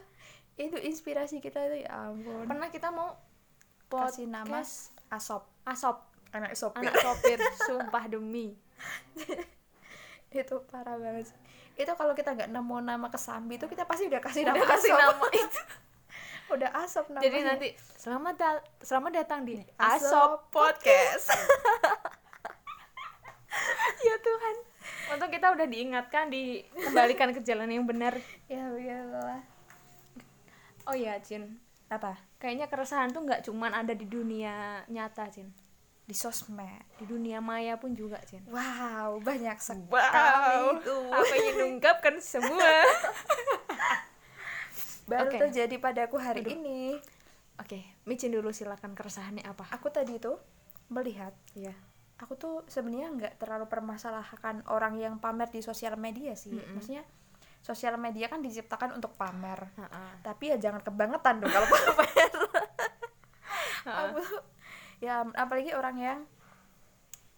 Speaker 2: itu inspirasi kita itu ya ampun
Speaker 1: pernah kita mau podcast
Speaker 2: kasih nama asop
Speaker 1: asop
Speaker 2: anak sopir
Speaker 1: anak sopir sumpah demi
Speaker 2: itu parah banget sih. itu kalau kita nggak nemu nama kesambi itu kita pasti udah kasih
Speaker 1: Udah
Speaker 2: nama
Speaker 1: kasih
Speaker 2: asop
Speaker 1: nama itu.
Speaker 2: udah asop namanya
Speaker 1: jadi nanti selamat da- selamat datang di asop
Speaker 2: asop podcast
Speaker 1: ya Tuhan untuk kita udah diingatkan dikembalikan ke jalan yang benar
Speaker 2: ya begitulah
Speaker 1: oh ya Jin
Speaker 2: apa
Speaker 1: kayaknya keresahan tuh nggak cuman ada di dunia nyata Jin
Speaker 2: di sosmed
Speaker 1: di dunia maya pun juga Jin
Speaker 2: wow banyak sekali
Speaker 1: Wow,
Speaker 2: itu
Speaker 1: apa yang mengungkapkan semua.
Speaker 2: baru
Speaker 1: Oke.
Speaker 2: terjadi padaku hari
Speaker 1: Aduh.
Speaker 2: ini
Speaker 1: Oke, micin dulu silakan keresahannya apa.
Speaker 2: aku tadi itu melihat
Speaker 1: Iya.
Speaker 2: aku tuh sebenarnya nggak terlalu permasalahkan orang yang pamer di sosial media sih
Speaker 1: Mm-mm.
Speaker 2: maksudnya sosial media kan diciptakan untuk pamer tapi ya jangan kebangetan dong kalau pamer aku tuh- ya apalagi orang yang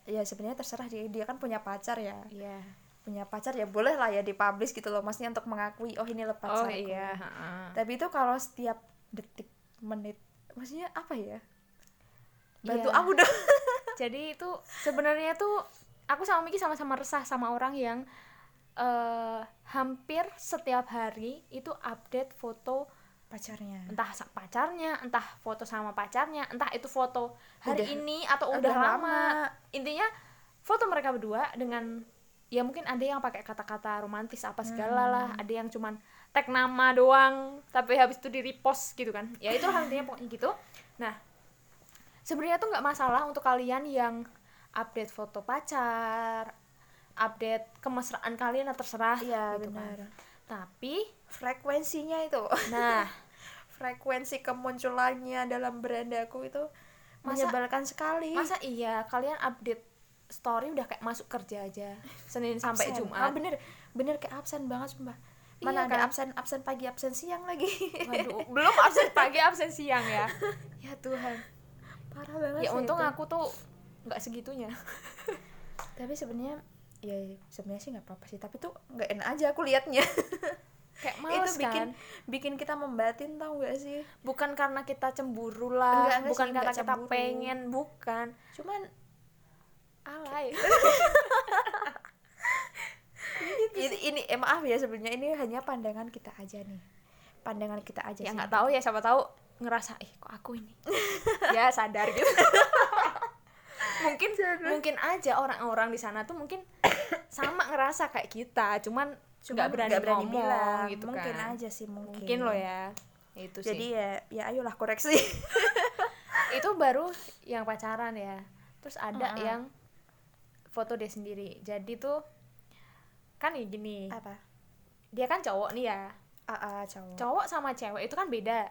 Speaker 2: ya sebenarnya terserah dia dia kan punya pacar ya
Speaker 1: Iya.
Speaker 2: punya pacar ya boleh lah ya dipublish gitu loh maksudnya untuk mengakui oh ini lepas
Speaker 1: Oh iya. ha-ha.
Speaker 2: tapi itu kalau setiap detik menit maksudnya apa ya bantu
Speaker 1: Iya.
Speaker 2: aku dong
Speaker 1: Jadi itu sebenarnya tuh aku sama Miki sama-sama resah sama orang yang eh hampir setiap hari itu update foto
Speaker 2: pacarnya
Speaker 1: entah sa- pacarnya, entah foto sama pacarnya, entah itu foto hari
Speaker 2: Udah-
Speaker 1: ini atau udah,
Speaker 2: udah
Speaker 1: lama.
Speaker 2: lama.
Speaker 1: Intinya foto mereka berdua dengan ya mungkin ada yang pakai kata-kata romantis apa
Speaker 2: Hmm.
Speaker 1: segala lah, ada yang cuman tag nama doang tapi habis itu di repost gitu kan. Ya itu intinya pokoknya gitu. Nah, sebenarnya tuh nggak masalah untuk kalian yang update foto pacar, update kemesraan kalian terserah
Speaker 2: Iya,
Speaker 1: gitu kan.
Speaker 2: benar.
Speaker 1: Tapi
Speaker 2: frekuensinya itu
Speaker 1: nah
Speaker 2: frekuensi kemunculannya dalam berandaku itu
Speaker 1: Masa-
Speaker 2: menyebalkan sekali
Speaker 1: masa iya kalian update story udah kayak masuk kerja aja senin sampai
Speaker 2: Absen.
Speaker 1: jumat
Speaker 2: Ah, bener bener kayak absen banget sumpah
Speaker 1: Iya
Speaker 2: mana ada
Speaker 1: kan?
Speaker 2: absen absen pagi absen siang lagi
Speaker 1: Waduh, belum absen pagi absen siang ya
Speaker 2: ya Tuhan parah banget
Speaker 1: ya
Speaker 2: sih
Speaker 1: untung
Speaker 2: itu.
Speaker 1: aku tuh nggak segitunya
Speaker 2: tapi sebenarnya ya sebenarnya sih nggak apa-apa sih tapi tuh nggak enak aja aku liatnya
Speaker 1: kayak
Speaker 2: itu
Speaker 1: males
Speaker 2: bikin
Speaker 1: kan
Speaker 2: bikin kita membatin tau gak sih
Speaker 1: bukan karena kita cemburu lah
Speaker 2: Enggak, enggak
Speaker 1: bukan
Speaker 2: sih,
Speaker 1: karena
Speaker 2: enggak
Speaker 1: kita
Speaker 2: cemburu.
Speaker 1: pengen bukan
Speaker 2: cuman
Speaker 1: alay
Speaker 2: ini, ini eh, maaf ya sebenarnya ini hanya pandangan kita aja nih pandangan kita aja
Speaker 1: ya
Speaker 2: sih.
Speaker 1: nggak tahu ya siapa tahu ngerasa ih kok aku ini ya sadar gitu mungkin mungkin aja orang-orang di sana tuh mungkin sama ngerasa kayak kita cuman
Speaker 2: Cuman
Speaker 1: nggak berani, ngomong gitu
Speaker 2: mungkin
Speaker 1: kan.
Speaker 2: aja sih mungkin
Speaker 1: mungkin lo ya itu
Speaker 2: jadi
Speaker 1: sih
Speaker 2: ya ya ayolah koreksi
Speaker 1: itu baru yang pacaran ya terus ada
Speaker 2: Mm-mm.
Speaker 1: yang foto dia sendiri jadi tuh kan ya gini
Speaker 2: apa
Speaker 1: dia kan cowok nih ya
Speaker 2: ah ah, cowok
Speaker 1: cowok sama cewek itu kan beda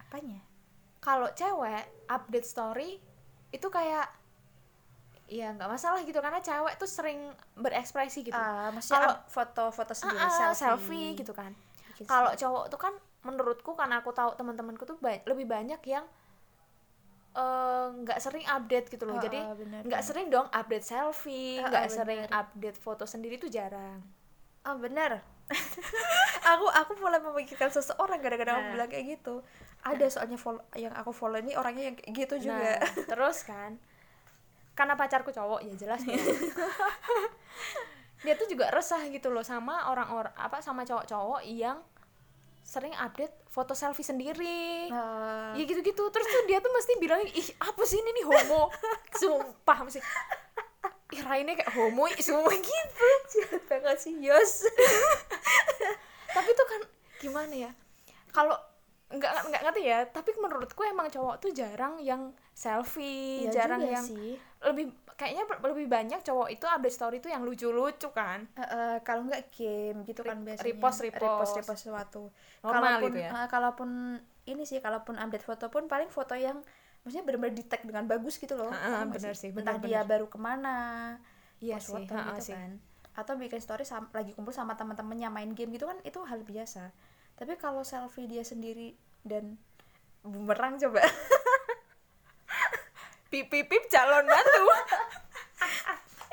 Speaker 2: apanya
Speaker 1: kalau cewek update story itu kayak ya nggak masalah gitu karena cewek tuh sering berekspresi gitu
Speaker 2: Ah, maksudnya
Speaker 1: Kalau-
Speaker 2: up- foto-foto sendiri
Speaker 1: Ah, ah, selfie
Speaker 2: selfie.
Speaker 1: gitu kan
Speaker 2: Bikin
Speaker 1: kalau cowok tuh kan menurutku karena aku tahu teman-temanku tuh ba- lebih banyak yang eh, nggak sering update gitu loh
Speaker 2: Oh,
Speaker 1: jadi
Speaker 2: oh, benar,
Speaker 1: nggak
Speaker 2: benar.
Speaker 1: sering dong update selfie
Speaker 2: Oh, oh,
Speaker 1: nggak
Speaker 2: benar.
Speaker 1: sering update foto sendiri tuh jarang
Speaker 2: ah benar aku aku mulai memikirkan seseorang gara-gara aku
Speaker 1: Nah.
Speaker 2: bilang kayak gitu ada soalnya follow, yang aku follow ini orangnya yang kayak gitu juga
Speaker 1: Nah, terus kan karena pacarku cowok ya jelas dong. dia tuh juga resah gitu loh sama orang-orang apa sama cowok-cowok yang sering update foto selfie sendiri
Speaker 2: Nah,
Speaker 1: ya gitu-gitu terus tuh dia tuh mesti bilang ih apa sih ini nih homo sumpah mesti ih Raine kayak homo ih, semua gitu
Speaker 2: jahat banget sih Yos
Speaker 1: tapi tuh kan gimana ya kalau nggak nggak ngerti ya tapi menurutku emang cowok tuh jarang yang selfie
Speaker 2: Iya
Speaker 1: jarang
Speaker 2: juga
Speaker 1: yang
Speaker 2: sih.
Speaker 1: lebih kayaknya ber- lebih banyak cowok itu update story itu yang lucu-lucu kan
Speaker 2: Eh, eh, kalau nggak game gitu kan biasanya
Speaker 1: repost, repost.
Speaker 2: repost repost sesuatu
Speaker 1: Normal
Speaker 2: kalaupun
Speaker 1: itu ya?
Speaker 2: eh, kalaupun ini sih kalaupun update foto pun paling foto yang maksudnya benar-benar di tag dengan bagus gitu loh
Speaker 1: Ah, ah,
Speaker 2: Tau nggak
Speaker 1: benar sih,
Speaker 2: entah
Speaker 1: benar,
Speaker 2: dia baru kemana
Speaker 1: Iya
Speaker 2: post
Speaker 1: sih,
Speaker 2: foto
Speaker 1: ah, ah,
Speaker 2: gitu
Speaker 1: sih.
Speaker 2: kan atau bikin story sam- lagi kumpul sama teman-temannya main game gitu kan itu hal biasa tapi kalau selfie dia sendiri dan bumerang coba
Speaker 1: pip pip pip calon mantu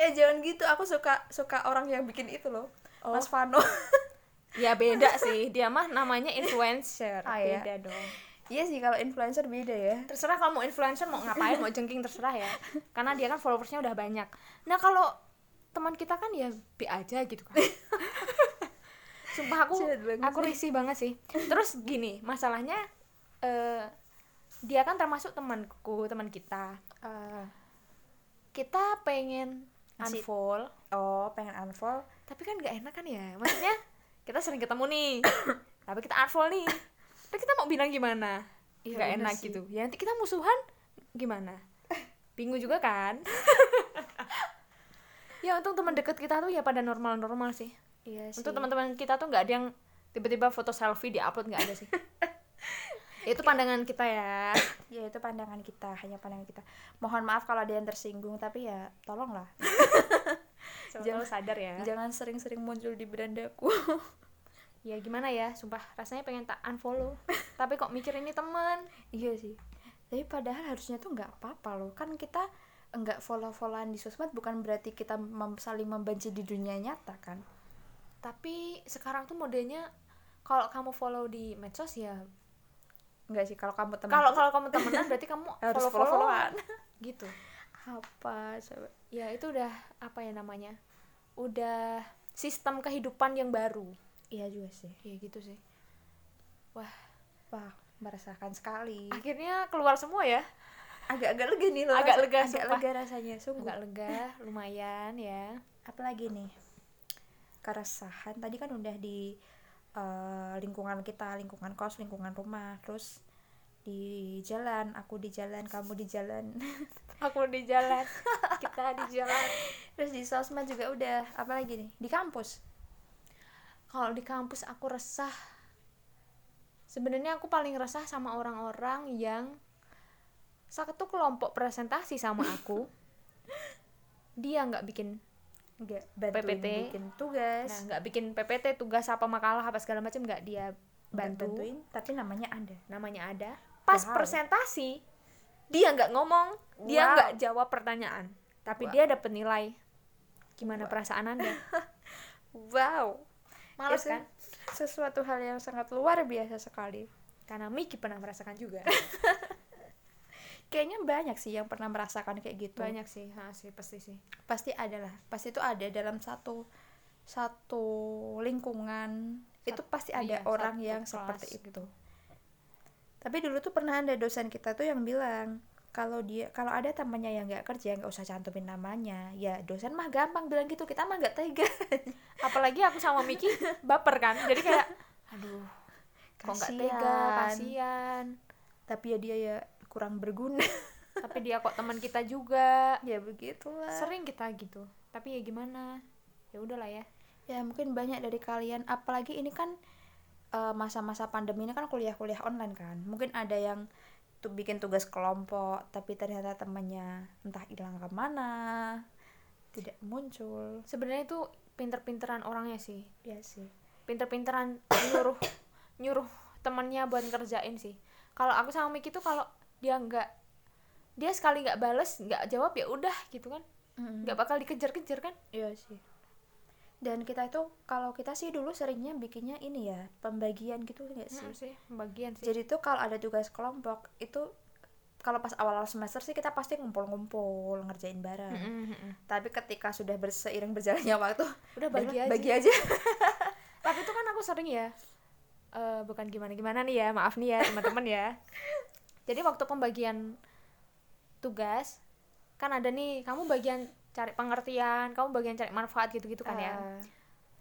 Speaker 2: eh jangan gitu aku suka suka orang yang bikin itu loh
Speaker 1: Oh.
Speaker 2: Mas Vano
Speaker 1: ya beda sih dia mah namanya influencer
Speaker 2: Ah, iya.
Speaker 1: beda dong
Speaker 2: iya sih kalau influencer beda ya
Speaker 1: terserah kalau mau influencer mau ngapain mau jengking terserah ya karena dia kan followersnya udah banyak nah kalau teman kita kan ya be aja gitu kan sumpah aku
Speaker 2: Jahat banget
Speaker 1: aku risih banget sih terus gini masalahnya eh, dia kan termasuk temanku teman kita
Speaker 2: Eh,
Speaker 1: kita pengen
Speaker 2: Masih-
Speaker 1: unfollow
Speaker 2: oh pengen unfollow
Speaker 1: tapi kan nggak enak kan ya maksudnya kita sering ketemu nih tapi kita unfollow nih terus kita mau bilang gimana
Speaker 2: Iya,
Speaker 1: nggak
Speaker 2: bener
Speaker 1: enak
Speaker 2: sih.
Speaker 1: gitu ya nanti kita musuhan gimana bingung juga kan ya untung teman deket kita tuh ya pada normal normal sih
Speaker 2: iya sih
Speaker 1: untuk teman-teman kita tuh nggak ada yang tiba-tiba foto selfie diupload nggak ada sih itu pandangan kita ya
Speaker 2: ya itu pandangan kita hanya pandangan kita mohon maaf kalau ada yang tersinggung tapi ya tolonglah
Speaker 1: jangan sadar ya
Speaker 2: jangan sering-sering muncul di berandaku
Speaker 1: ya gimana ya sumpah rasanya pengen tak unfollow tapi kok mikir ini teman
Speaker 2: iya sih tapi padahal harusnya tuh nggak apa-apa loh kan kita nggak follow-followan di sosmed bukan berarti kita mem- saling membenci di dunia nyata kan
Speaker 1: tapi sekarang tuh modelnya kalau kamu follow di medsos ya
Speaker 2: nggak sih kalau kamu teman
Speaker 1: kalau kalau kamu temenan berarti kamu
Speaker 2: Harus
Speaker 1: follow followan
Speaker 2: follow-followan.
Speaker 1: gitu
Speaker 2: apa coba
Speaker 1: ya itu udah apa ya namanya udah sistem kehidupan yang baru
Speaker 2: iya juga sih
Speaker 1: ya gitu sih wah
Speaker 2: wah meresahkan sekali
Speaker 1: akhirnya keluar semua ya
Speaker 2: agak-agak lega nih loh
Speaker 1: Agak
Speaker 2: rasa-
Speaker 1: lega,
Speaker 2: agak
Speaker 1: sumpah.
Speaker 2: lega rasanya sungguh
Speaker 1: agak lega lumayan ya
Speaker 2: apalagi nih keresahan tadi kan udah di eh, lingkungan kita lingkungan kos lingkungan rumah terus di jalan aku di jalan kamu di jalan
Speaker 1: aku di jalan kita di jalan
Speaker 2: terus di sosmed juga udah apalagi nih di kampus
Speaker 1: kalau di kampus aku resah sebenarnya aku paling resah sama orang-orang yang satu kelompok presentasi sama aku dia nggak bikin
Speaker 2: nggak bantuin
Speaker 1: PPT.
Speaker 2: bikin tugas
Speaker 1: nah nggak bikin PPT tugas apa makalah apa segala macam nggak dia
Speaker 2: nggak
Speaker 1: bantu
Speaker 2: bantuin tapi namanya ada
Speaker 1: namanya ada pas
Speaker 2: Wow.
Speaker 1: presentasi dia nggak ngomong dia
Speaker 2: Wow.
Speaker 1: nggak jawab pertanyaan tapi
Speaker 2: Wow.
Speaker 1: dia dapat nilai gimana perasaan anda
Speaker 2: wow
Speaker 1: males
Speaker 2: Itu
Speaker 1: kan
Speaker 2: Ya sesuatu hal yang sangat luar biasa sekali
Speaker 1: karena Miki pernah merasakan juga
Speaker 2: kayaknya banyak sih yang pernah merasakan kayak gitu
Speaker 1: banyak sih ha, sih pasti sih
Speaker 2: pasti ada lah pasti itu ada dalam satu satu lingkungan itu pasti ada
Speaker 1: iya,
Speaker 2: orang
Speaker 1: satu
Speaker 2: yang
Speaker 1: kelas
Speaker 2: seperti
Speaker 1: gitu.
Speaker 2: itu tapi dulu tuh pernah ada dosen kita tuh yang bilang kalau dia kalau ada temannya yang nggak kerja nggak usah cantumin namanya ya dosen mah gampang bilang gitu kita mah nggak tega
Speaker 1: apalagi aku sama Miki baper kan jadi kayak aduh kok nggak tega
Speaker 2: Kasian.
Speaker 1: kasihan
Speaker 2: tapi ya dia ya kurang berguna
Speaker 1: tapi dia kok teman kita juga
Speaker 2: ya begitulah
Speaker 1: sering kita gitu tapi ya gimana ya udahlah ya
Speaker 2: ya mungkin banyak dari kalian apalagi ini kan eh, masa-masa pandemi ini kan kuliah-kuliah online kan mungkin ada yang tuh bikin tugas kelompok tapi ternyata temannya entah hilang kemana tidak muncul
Speaker 1: sebenarnya itu pinter-pinteran orangnya sih
Speaker 2: ya sih
Speaker 1: pinter-pinteran nyuruh nyuruh temannya buat kerjain sih kalau aku sama Miki tuh kalau dia nggak dia sekali nggak bales nggak jawab ya udah gitu kan nggak bakal dikejar-kejar kan
Speaker 2: iya sih dan kita itu kalau kita sih dulu seringnya bikinnya ini ya pembagian gitu nggak sih
Speaker 1: Mm, sih bagian sih
Speaker 2: jadi tuh kalau ada tugas kelompok itu kalau pas awal-awal semester sih kita pasti ngumpul-ngumpul ngerjain bareng
Speaker 1: Mm, mm, mm.
Speaker 2: tapi ketika sudah berseiring berjalannya waktu
Speaker 1: udah bagi
Speaker 2: udahlah,
Speaker 1: aja
Speaker 2: bagi aja
Speaker 1: tapi itu kan aku sering ya eh, bukan gimana gimana nih ya maaf nih ya teman-teman ya jadi waktu pembagian tugas kan ada nih kamu bagian cari pengertian kamu bagian cari manfaat gitu-gitu kan ya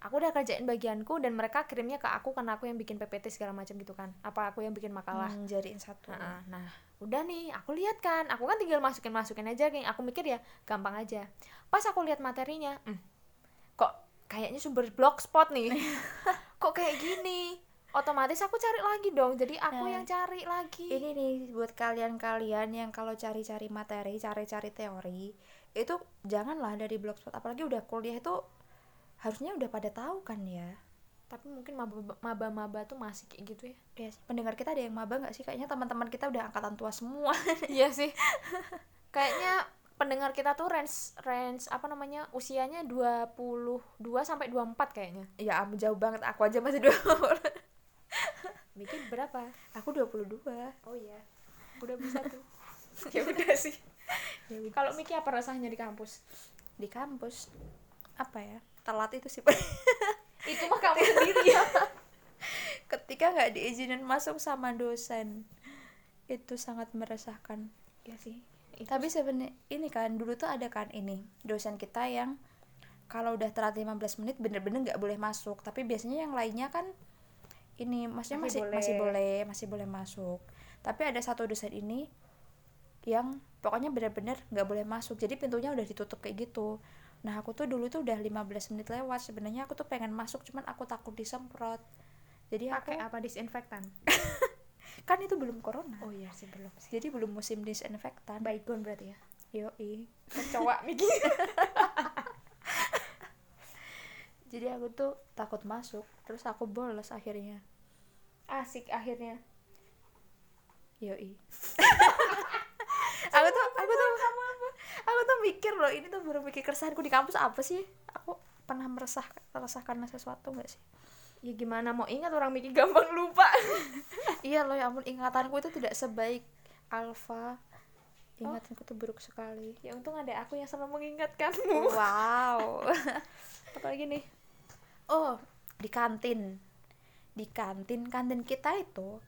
Speaker 2: Ah,
Speaker 1: aku udah kerjain bagianku dan mereka kirimnya ke aku karena aku yang bikin ppt segala macam gitu kan apa aku yang bikin makalah
Speaker 2: hmm, jadiin satu
Speaker 1: Nah, nah, udah nih, aku lihat kan, aku kan tinggal masukin masukin aja, geng. Aku mikir ya, gampang aja. Pas aku lihat materinya, hmm, kok kayaknya sumber blogspot nih, kok kayak gini. Otomatis aku cari lagi dong, jadi aku
Speaker 2: Nah,
Speaker 1: yang cari lagi.
Speaker 2: ini nih buat kalian-kalian yang kalau cari-cari materi cari-cari teori itu janganlah dari blogspot apalagi udah kuliah itu harusnya udah pada tahu kan ya
Speaker 1: Tapi mungkin maba- maba-maba tuh masih kayak gitu ya.
Speaker 2: Iya sih, pendengar kita ada yang maba nggak sih? Kayaknya teman-teman kita udah angkatan tua semua.
Speaker 1: Iya sih. Kayaknya pendengar kita tuh range range apa namanya? usianya 22 sampai 24 kayaknya.
Speaker 2: ya ampun jauh banget. Aku aja masih 20.
Speaker 1: Bikin berapa?
Speaker 2: Aku 22.
Speaker 1: Oh iya. Udah bisa tuh.
Speaker 2: ya udah sih.
Speaker 1: Kalau Miki apa rasanya di kampus?
Speaker 2: Ya Di kampus apa ya? Telat itu sih. Pak.
Speaker 1: Itu mah kamu sendiri. ya.
Speaker 2: Ketika nggak diizinin masuk sama dosen itu sangat meresahkan.
Speaker 1: Iya sih.
Speaker 2: Tapi sebenarnya ini kan dulu tuh ada kan ini dosen kita yang kalau udah telat 15 menit bener-bener nggak boleh masuk. Tapi biasanya yang lainnya kan ini maksudnya
Speaker 1: Masih
Speaker 2: masih
Speaker 1: boleh.
Speaker 2: masih boleh masih boleh masuk. Tapi ada satu dosen ini yang pokoknya bener-bener nggak boleh masuk. Jadi pintunya udah ditutup kayak gitu. Nah aku tuh dulu tuh udah 15 menit lewat. Sebenarnya aku tuh pengen masuk cuman aku takut disemprot. Jadi
Speaker 1: pakai
Speaker 2: aku
Speaker 1: apa disinfektan?
Speaker 2: kan itu belum corona.
Speaker 1: Oh iya sih belum sih.
Speaker 2: Jadi belum musim disinfektan.
Speaker 1: Baygon berarti ya.
Speaker 2: Yoi.
Speaker 1: Kecoa Miki.
Speaker 2: jadi aku tuh takut masuk terus aku bolos akhirnya
Speaker 1: Asik akhirnya.
Speaker 2: yoi aku tuh aku tuh aku tuh mikir loh ini tuh baru mikir keresahanku di kampus apa sih aku pernah meresah meresah karena sesuatu nggak sih
Speaker 1: Ya gimana mau ingat orang Miki gampang lupa.
Speaker 2: iya loh ya ampun ingatanku itu tidak sebaik alfa ingatanku tuh buruk sekali
Speaker 1: ya untung ada aku yang selalu mengingatkanmu.
Speaker 2: wow
Speaker 1: Apalagi nih.
Speaker 2: oh di kantin di kantin kantin kita itu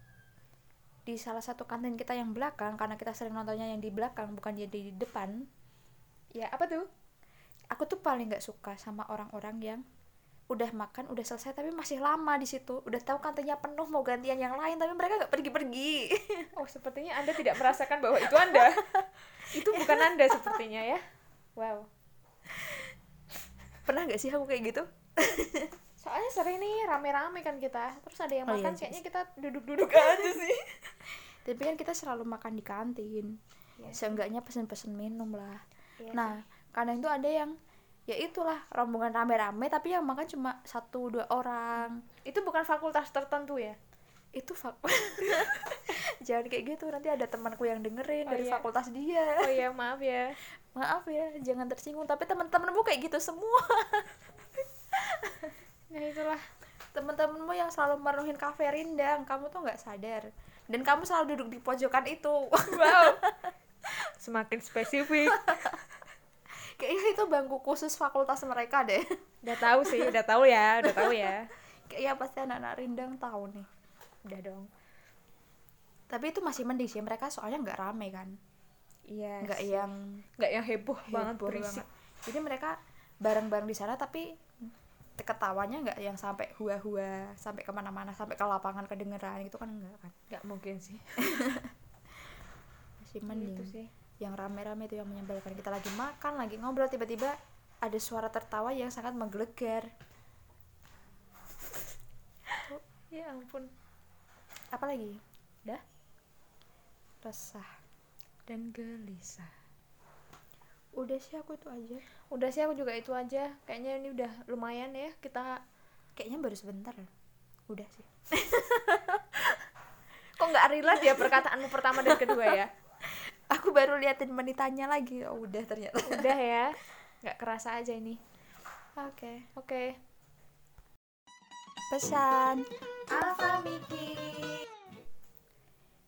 Speaker 2: di salah satu kantin kita yang belakang karena kita sering nontonnya yang di belakang bukan jadi di depan
Speaker 1: Ya apa tuh?
Speaker 2: aku tuh paling nggak suka sama orang-orang yang udah makan udah selesai tapi masih lama di situ udah tahu kantinnya penuh mau gantian yang lain tapi mereka nggak pergi-pergi
Speaker 1: Oh sepertinya Anda tidak merasakan bahwa itu Anda. itu bukan Anda sepertinya ya. Wow.
Speaker 2: pernah nggak sih aku kayak gitu
Speaker 1: Soalnya sering nih rame-rame kan kita. Terus ada yang
Speaker 2: Oh iya,
Speaker 1: makan
Speaker 2: Jess.
Speaker 1: kayaknya kita duduk-duduk aja sih.
Speaker 2: tapi kan kita selalu makan di kantin
Speaker 1: Iya sih.
Speaker 2: seenggaknya pesen-pesen minum lah
Speaker 1: Iya
Speaker 2: nah kadang itu ada yang ya itulah rombongan rame-rame tapi yang makan cuma satu dua orang
Speaker 1: Itu bukan fakultas tertentu ya?
Speaker 2: itu fak jangan kayak gitu nanti ada temanku yang dengerin
Speaker 1: Oh
Speaker 2: dari
Speaker 1: iya.
Speaker 2: fakultas dia
Speaker 1: Oh ya maaf ya.
Speaker 2: maaf ya jangan tersinggung tapi teman-temanmu kayak gitu semua
Speaker 1: Nah itulah.
Speaker 2: temen-temenmu yang selalu meruhin kafe rindang kamu tuh nggak sadar dan kamu selalu duduk di pojokan itu
Speaker 1: Wow. Semakin spesifik.
Speaker 2: kayaknya itu bangku khusus fakultas mereka deh
Speaker 1: Udah tahu sih, udah tahu ya, udah tahu ya.
Speaker 2: kayaknya pasti anak-anak rindang tahu nih
Speaker 1: Udah dong.
Speaker 2: tapi itu masih mending sih mereka soalnya nggak rame kan
Speaker 1: Iya.
Speaker 2: nggak yang
Speaker 1: enggak yang heboh, banget
Speaker 2: heboh
Speaker 1: berisik.
Speaker 2: Iya, banget. jadi mereka bareng-bareng di sana tapi te- ketawanya nggak yang sampai hua-hua sampai kemana-mana sampai ke lapangan kedengeran gitu kan enggak kan
Speaker 1: Enggak mungkin sih.
Speaker 2: masih mending
Speaker 1: Itu sih.
Speaker 2: yang rame-rame itu yang menyebalkan kita lagi makan lagi ngobrol tiba-tiba ada suara tertawa yang sangat menggelegar
Speaker 1: Ya ampun.
Speaker 2: apalagi
Speaker 1: Dah
Speaker 2: resah
Speaker 1: dan gelisah.
Speaker 2: udah sih aku itu aja
Speaker 1: Udah sih aku juga itu aja. Kayaknya ini udah lumayan ya kita
Speaker 2: kayaknya baru sebentar udah sih kok nggak relate ya
Speaker 1: perkataanmu pertama dan kedua ya.
Speaker 2: aku baru liatin menitannya lagi oh udah ternyata
Speaker 1: Udah ya. Enggak kerasa aja ini.
Speaker 2: Oke.
Speaker 1: Oke.
Speaker 2: Pesan Alfa Miki.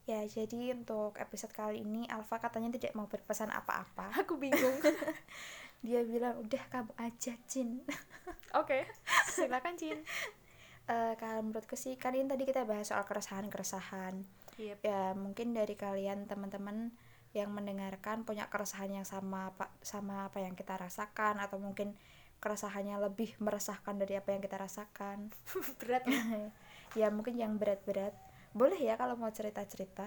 Speaker 2: Ya, jadi untuk episode kali ini Alfa katanya tidak mau berpesan apa-apa.
Speaker 1: Aku bingung.
Speaker 2: Dia bilang, "Udah kamu aja, Jin."
Speaker 1: Oke. Silakan Cin.
Speaker 2: Eh, kalau menurutku sih, kan ini tadi kita bahas soal keresahan-keresahan.
Speaker 1: Yep.
Speaker 2: ya mungkin dari kalian teman-teman yang mendengarkan punya keresahan yang sama apa sama apa yang kita rasakan atau mungkin keresahannya lebih meresahkan dari apa yang kita rasakan
Speaker 1: Berat. ya.
Speaker 2: ya mungkin yang berat-berat boleh ya kalau mau cerita-cerita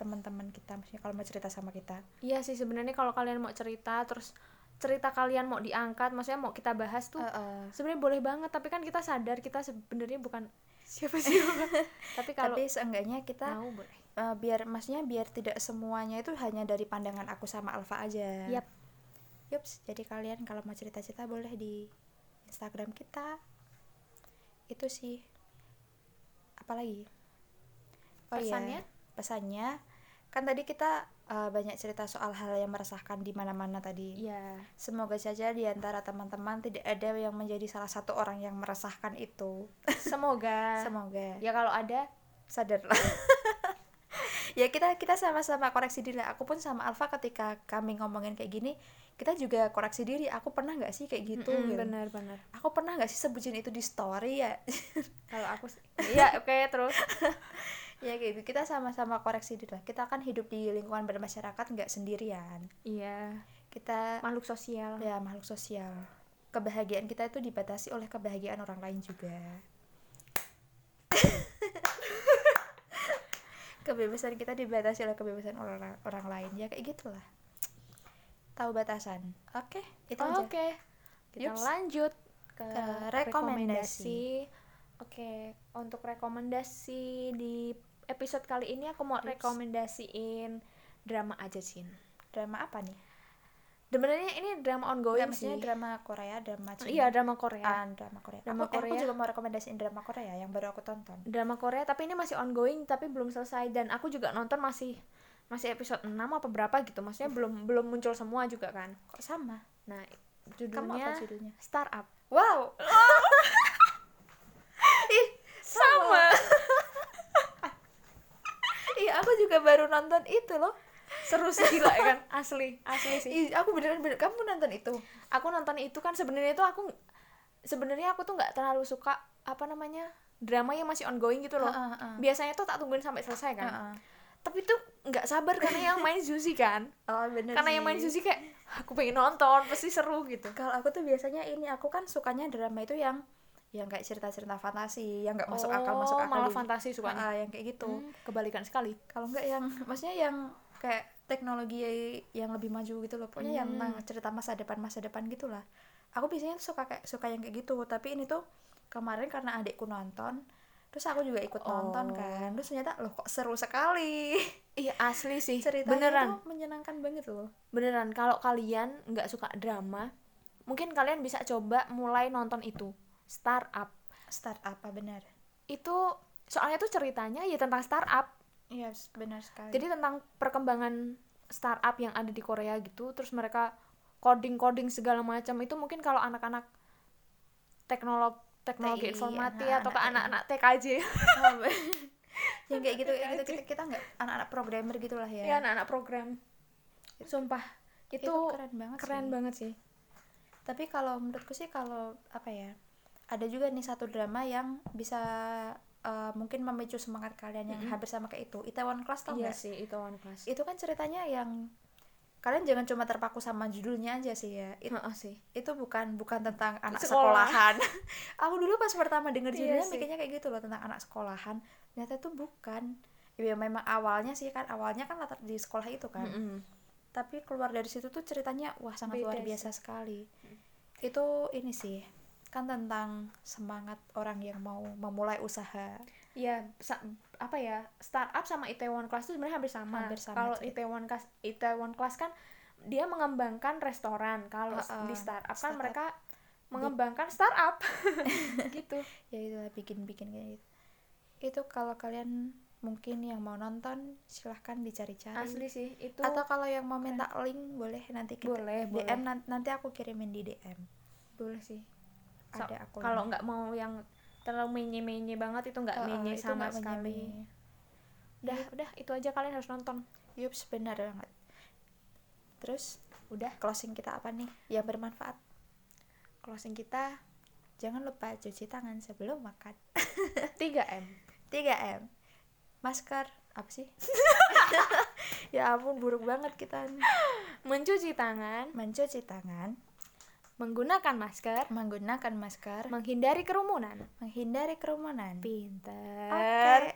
Speaker 2: teman-teman kita maksudnya kalau mau cerita sama kita
Speaker 1: Iya sih sebenarnya kalau kalian mau cerita terus cerita kalian mau diangkat, maksudnya mau kita bahas tuh
Speaker 2: Heeh.
Speaker 1: sebenarnya boleh banget tapi kan kita sadar kita sebenarnya bukan siapa-siapa. tapi kalau
Speaker 2: tapi seenggaknya kita
Speaker 1: mau boleh.
Speaker 2: eh, biar maksudnya biar tidak semuanya itu hanya dari pandangan aku sama Alfa aja
Speaker 1: Yap.
Speaker 2: Yups, jadi kalian kalau mau cerita-cerita boleh di Instagram kita. Itu sih. Apalagi? iya.
Speaker 1: Pesannya?
Speaker 2: Pesannya kan tadi kita uh, banyak cerita soal hal yang meresahkan di mana-mana tadi.
Speaker 1: Iya.
Speaker 2: Semoga saja di antara teman-teman tidak ada yang menjadi salah satu orang yang meresahkan itu.
Speaker 1: Semoga.
Speaker 2: Semoga
Speaker 1: Ya kalau ada
Speaker 2: sadarlah. ya kita kita sama-sama koreksi diri lah. aku pun sama Alfa ketika kami ngomongin kayak gini kita juga koreksi diri aku pernah nggak sih kayak gitu
Speaker 1: Mm-mm,
Speaker 2: gitu.
Speaker 1: benar-benar.
Speaker 2: aku pernah nggak sih sebutin itu di story ya
Speaker 1: Kalau aku sih- Iya, oke terus.
Speaker 2: ya kayak gitu. kita sama-sama koreksi diri lah kita kan hidup di lingkungan bermasyarakat nggak sendirian
Speaker 1: Iya,
Speaker 2: kita
Speaker 1: makhluk sosial.
Speaker 2: ya makhluk sosial kebahagiaan kita itu dibatasi oleh kebahagiaan orang lain juga kebebasan kita dibatasi oleh kebebasan orang orang lain ya kayak gitulah tahu batasan oke itu
Speaker 1: Oh,
Speaker 2: aja
Speaker 1: Oke. Kita
Speaker 2: Yups.
Speaker 1: lanjut ke,
Speaker 2: Ke
Speaker 1: rekomendasi. Oke, untuk rekomendasi di episode kali ini aku mau
Speaker 2: Yups.
Speaker 1: rekomendasiin drama aja Cin.
Speaker 2: drama apa nih
Speaker 1: Sebenarnya ini drama
Speaker 2: Nggak,
Speaker 1: ongoing
Speaker 2: maksudnya
Speaker 1: sih.
Speaker 2: drama Korea drama Cina
Speaker 1: iya, drama Korea.
Speaker 2: Ah, drama Korea
Speaker 1: Drama
Speaker 2: aku, eh, aku
Speaker 1: Korea.
Speaker 2: juga mau rekomendasiin drama Korea yang baru aku tonton
Speaker 1: Drama Korea tapi ini masih ongoing tapi belum selesai dan aku juga nonton masih masih episode 6 apa berapa gitu. Maksudnya
Speaker 2: Iya.
Speaker 1: belum belum muncul semua juga kan.
Speaker 2: kok sama
Speaker 1: Nah,
Speaker 2: kamu apa
Speaker 1: judulnya
Speaker 2: judulnya
Speaker 1: Startup.
Speaker 2: wow ih sama ih Iya, aku juga baru nonton itu loh
Speaker 1: Seru sih gila ya kan? Asli, asli sih.
Speaker 2: ih aku beneran bener kamu nonton itu
Speaker 1: aku nonton itu kan sebenarnya itu aku sebenarnya aku tuh nggak terlalu suka apa namanya drama yang masih ongoing gitu loh
Speaker 2: Heeh, heeh.
Speaker 1: biasanya tuh tak tungguin sampai selesai kan
Speaker 2: Heeh.
Speaker 1: tapi tuh nggak sabar karena yang main Suzy kan
Speaker 2: oh bener
Speaker 1: karena
Speaker 2: sih.
Speaker 1: yang main Suzy kayak aku pengen nonton pasti seru gitu
Speaker 2: kalau aku tuh biasanya ini aku kan sukanya drama itu yang yang kayak cerita-cerita fantasi yang nggak masuk akal
Speaker 1: Oh,
Speaker 2: masuk akal
Speaker 1: malah
Speaker 2: gitu.
Speaker 1: fantasi sukanya
Speaker 2: Heeh, yang kayak gitu
Speaker 1: Hmm, kebalikan sekali
Speaker 2: kalau nggak yang maksudnya yang kayak teknologi yang lebih maju gitu loh pokoknya yang
Speaker 1: Hmm.
Speaker 2: tentang cerita masa depan masa depan gitulah aku biasanya tuh suka kayak suka yang kayak gitu tapi ini tuh kemarin karena adikku nonton terus aku juga ikut
Speaker 1: Oh.
Speaker 2: nonton kan terus ternyata loh kok seru sekali
Speaker 1: iya asli sih
Speaker 2: ceritanya
Speaker 1: beneran
Speaker 2: tuh menyenangkan banget loh
Speaker 1: beneran kalau kalian nggak suka drama mungkin kalian bisa coba mulai nonton itu startup
Speaker 2: start apa benar
Speaker 1: itu soalnya tuh ceritanya ya tentang startup
Speaker 2: yes Iya, benar sekali
Speaker 1: Jadi tentang perkembangan startup yang ada di Korea gitu, terus mereka coding-coding segala macam itu mungkin kalau anak-anak teknolog teknologi
Speaker 2: TI,
Speaker 1: informatik
Speaker 2: anak-anak
Speaker 1: atau ke
Speaker 2: TI.
Speaker 1: Iya, anak-anak TKJ
Speaker 2: yang kayak gitu kayak gitu kita kita nggak anak-anak programmer gitulah
Speaker 1: ya,
Speaker 2: ya,
Speaker 1: anak-anak program. Sumpah itu, keren,
Speaker 2: banget sih.
Speaker 1: banget sih.
Speaker 2: tapi kalau menurutku sih kalau apa ya ada juga nih satu drama yang bisa eh, mungkin memicu semangat kalian yang hampir sama kayak itu Itaewon Class tau
Speaker 1: Iya
Speaker 2: nggak?
Speaker 1: sih itu one class.
Speaker 2: itu kan ceritanya yang kalian jangan cuma terpaku sama judulnya aja sih ya It-
Speaker 1: Heeh sih.
Speaker 2: itu bukan bukan tentang anak
Speaker 1: Sekolah.
Speaker 2: sekolahan aku dulu pas pertama
Speaker 1: Iya
Speaker 2: denger judulnya
Speaker 1: sih.
Speaker 2: mikirnya kayak gitu loh tentang anak sekolahan ternyata itu bukan ya memang awalnya sih kan awalnya kan latar di sekolah itu kan
Speaker 1: Mm-mm.
Speaker 2: tapi keluar dari situ tuh ceritanya wah sangat
Speaker 1: Beda Hmm.
Speaker 2: luar biasa sekali itu ini sih kan tentang semangat orang yang mau memulai usaha
Speaker 1: Iya, sa- apa ya? Startup sama Itaewon Class itu sebenarnya hampir sama.
Speaker 2: Hampir sama
Speaker 1: Kalau
Speaker 2: sih.
Speaker 1: Itaewon Class Itaewon Class kan dia mengembangkan restoran. Kalau s-
Speaker 2: Heeh,
Speaker 1: di startup kan
Speaker 2: startup.
Speaker 1: mereka mengembangkan startup. gitu.
Speaker 2: ya itulah bikin-bikin kayak gitu itu kalau kalian mungkin yang mau nonton silahkan dicari-cari
Speaker 1: Asli sih itu. kan
Speaker 2: atau kalau yang mau minta link boleh nanti kita
Speaker 1: Boleh,
Speaker 2: DM
Speaker 1: boleh.
Speaker 2: nan- nanti aku kirimin di DM boleh sih
Speaker 1: So,
Speaker 2: ada aku
Speaker 1: kalau nggak mau yang terlalu menye-menye banget itu
Speaker 2: Eh,
Speaker 1: nggak menye sama sekali udah udah itu aja kalian harus nonton
Speaker 2: yup benar banget terus
Speaker 1: udah
Speaker 2: closing kita apa nih yang bermanfaat
Speaker 1: closing kita
Speaker 2: jangan lupa cuci tangan sebelum makan
Speaker 1: 3M
Speaker 2: 3M masker apa sih ya ampun buruk banget kita nih.
Speaker 1: mencuci tangan
Speaker 2: mencuci tangan
Speaker 1: menggunakan masker
Speaker 2: menggunakan masker
Speaker 1: menghindari kerumunan
Speaker 2: menghindari kerumunan
Speaker 1: pinter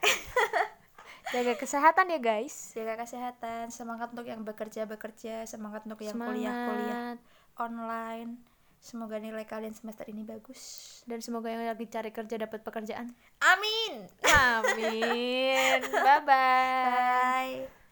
Speaker 1: jaga kesehatan ya guys
Speaker 2: jaga kesehatan semangat untuk yang bekerja bekerja semangat untuk yang
Speaker 1: Semangat.
Speaker 2: kuliah kuliah online semoga nilai kalian semester ini bagus
Speaker 1: dan semoga yang lagi cari kerja dapat pekerjaan
Speaker 2: amin
Speaker 1: amin bye bye
Speaker 2: bye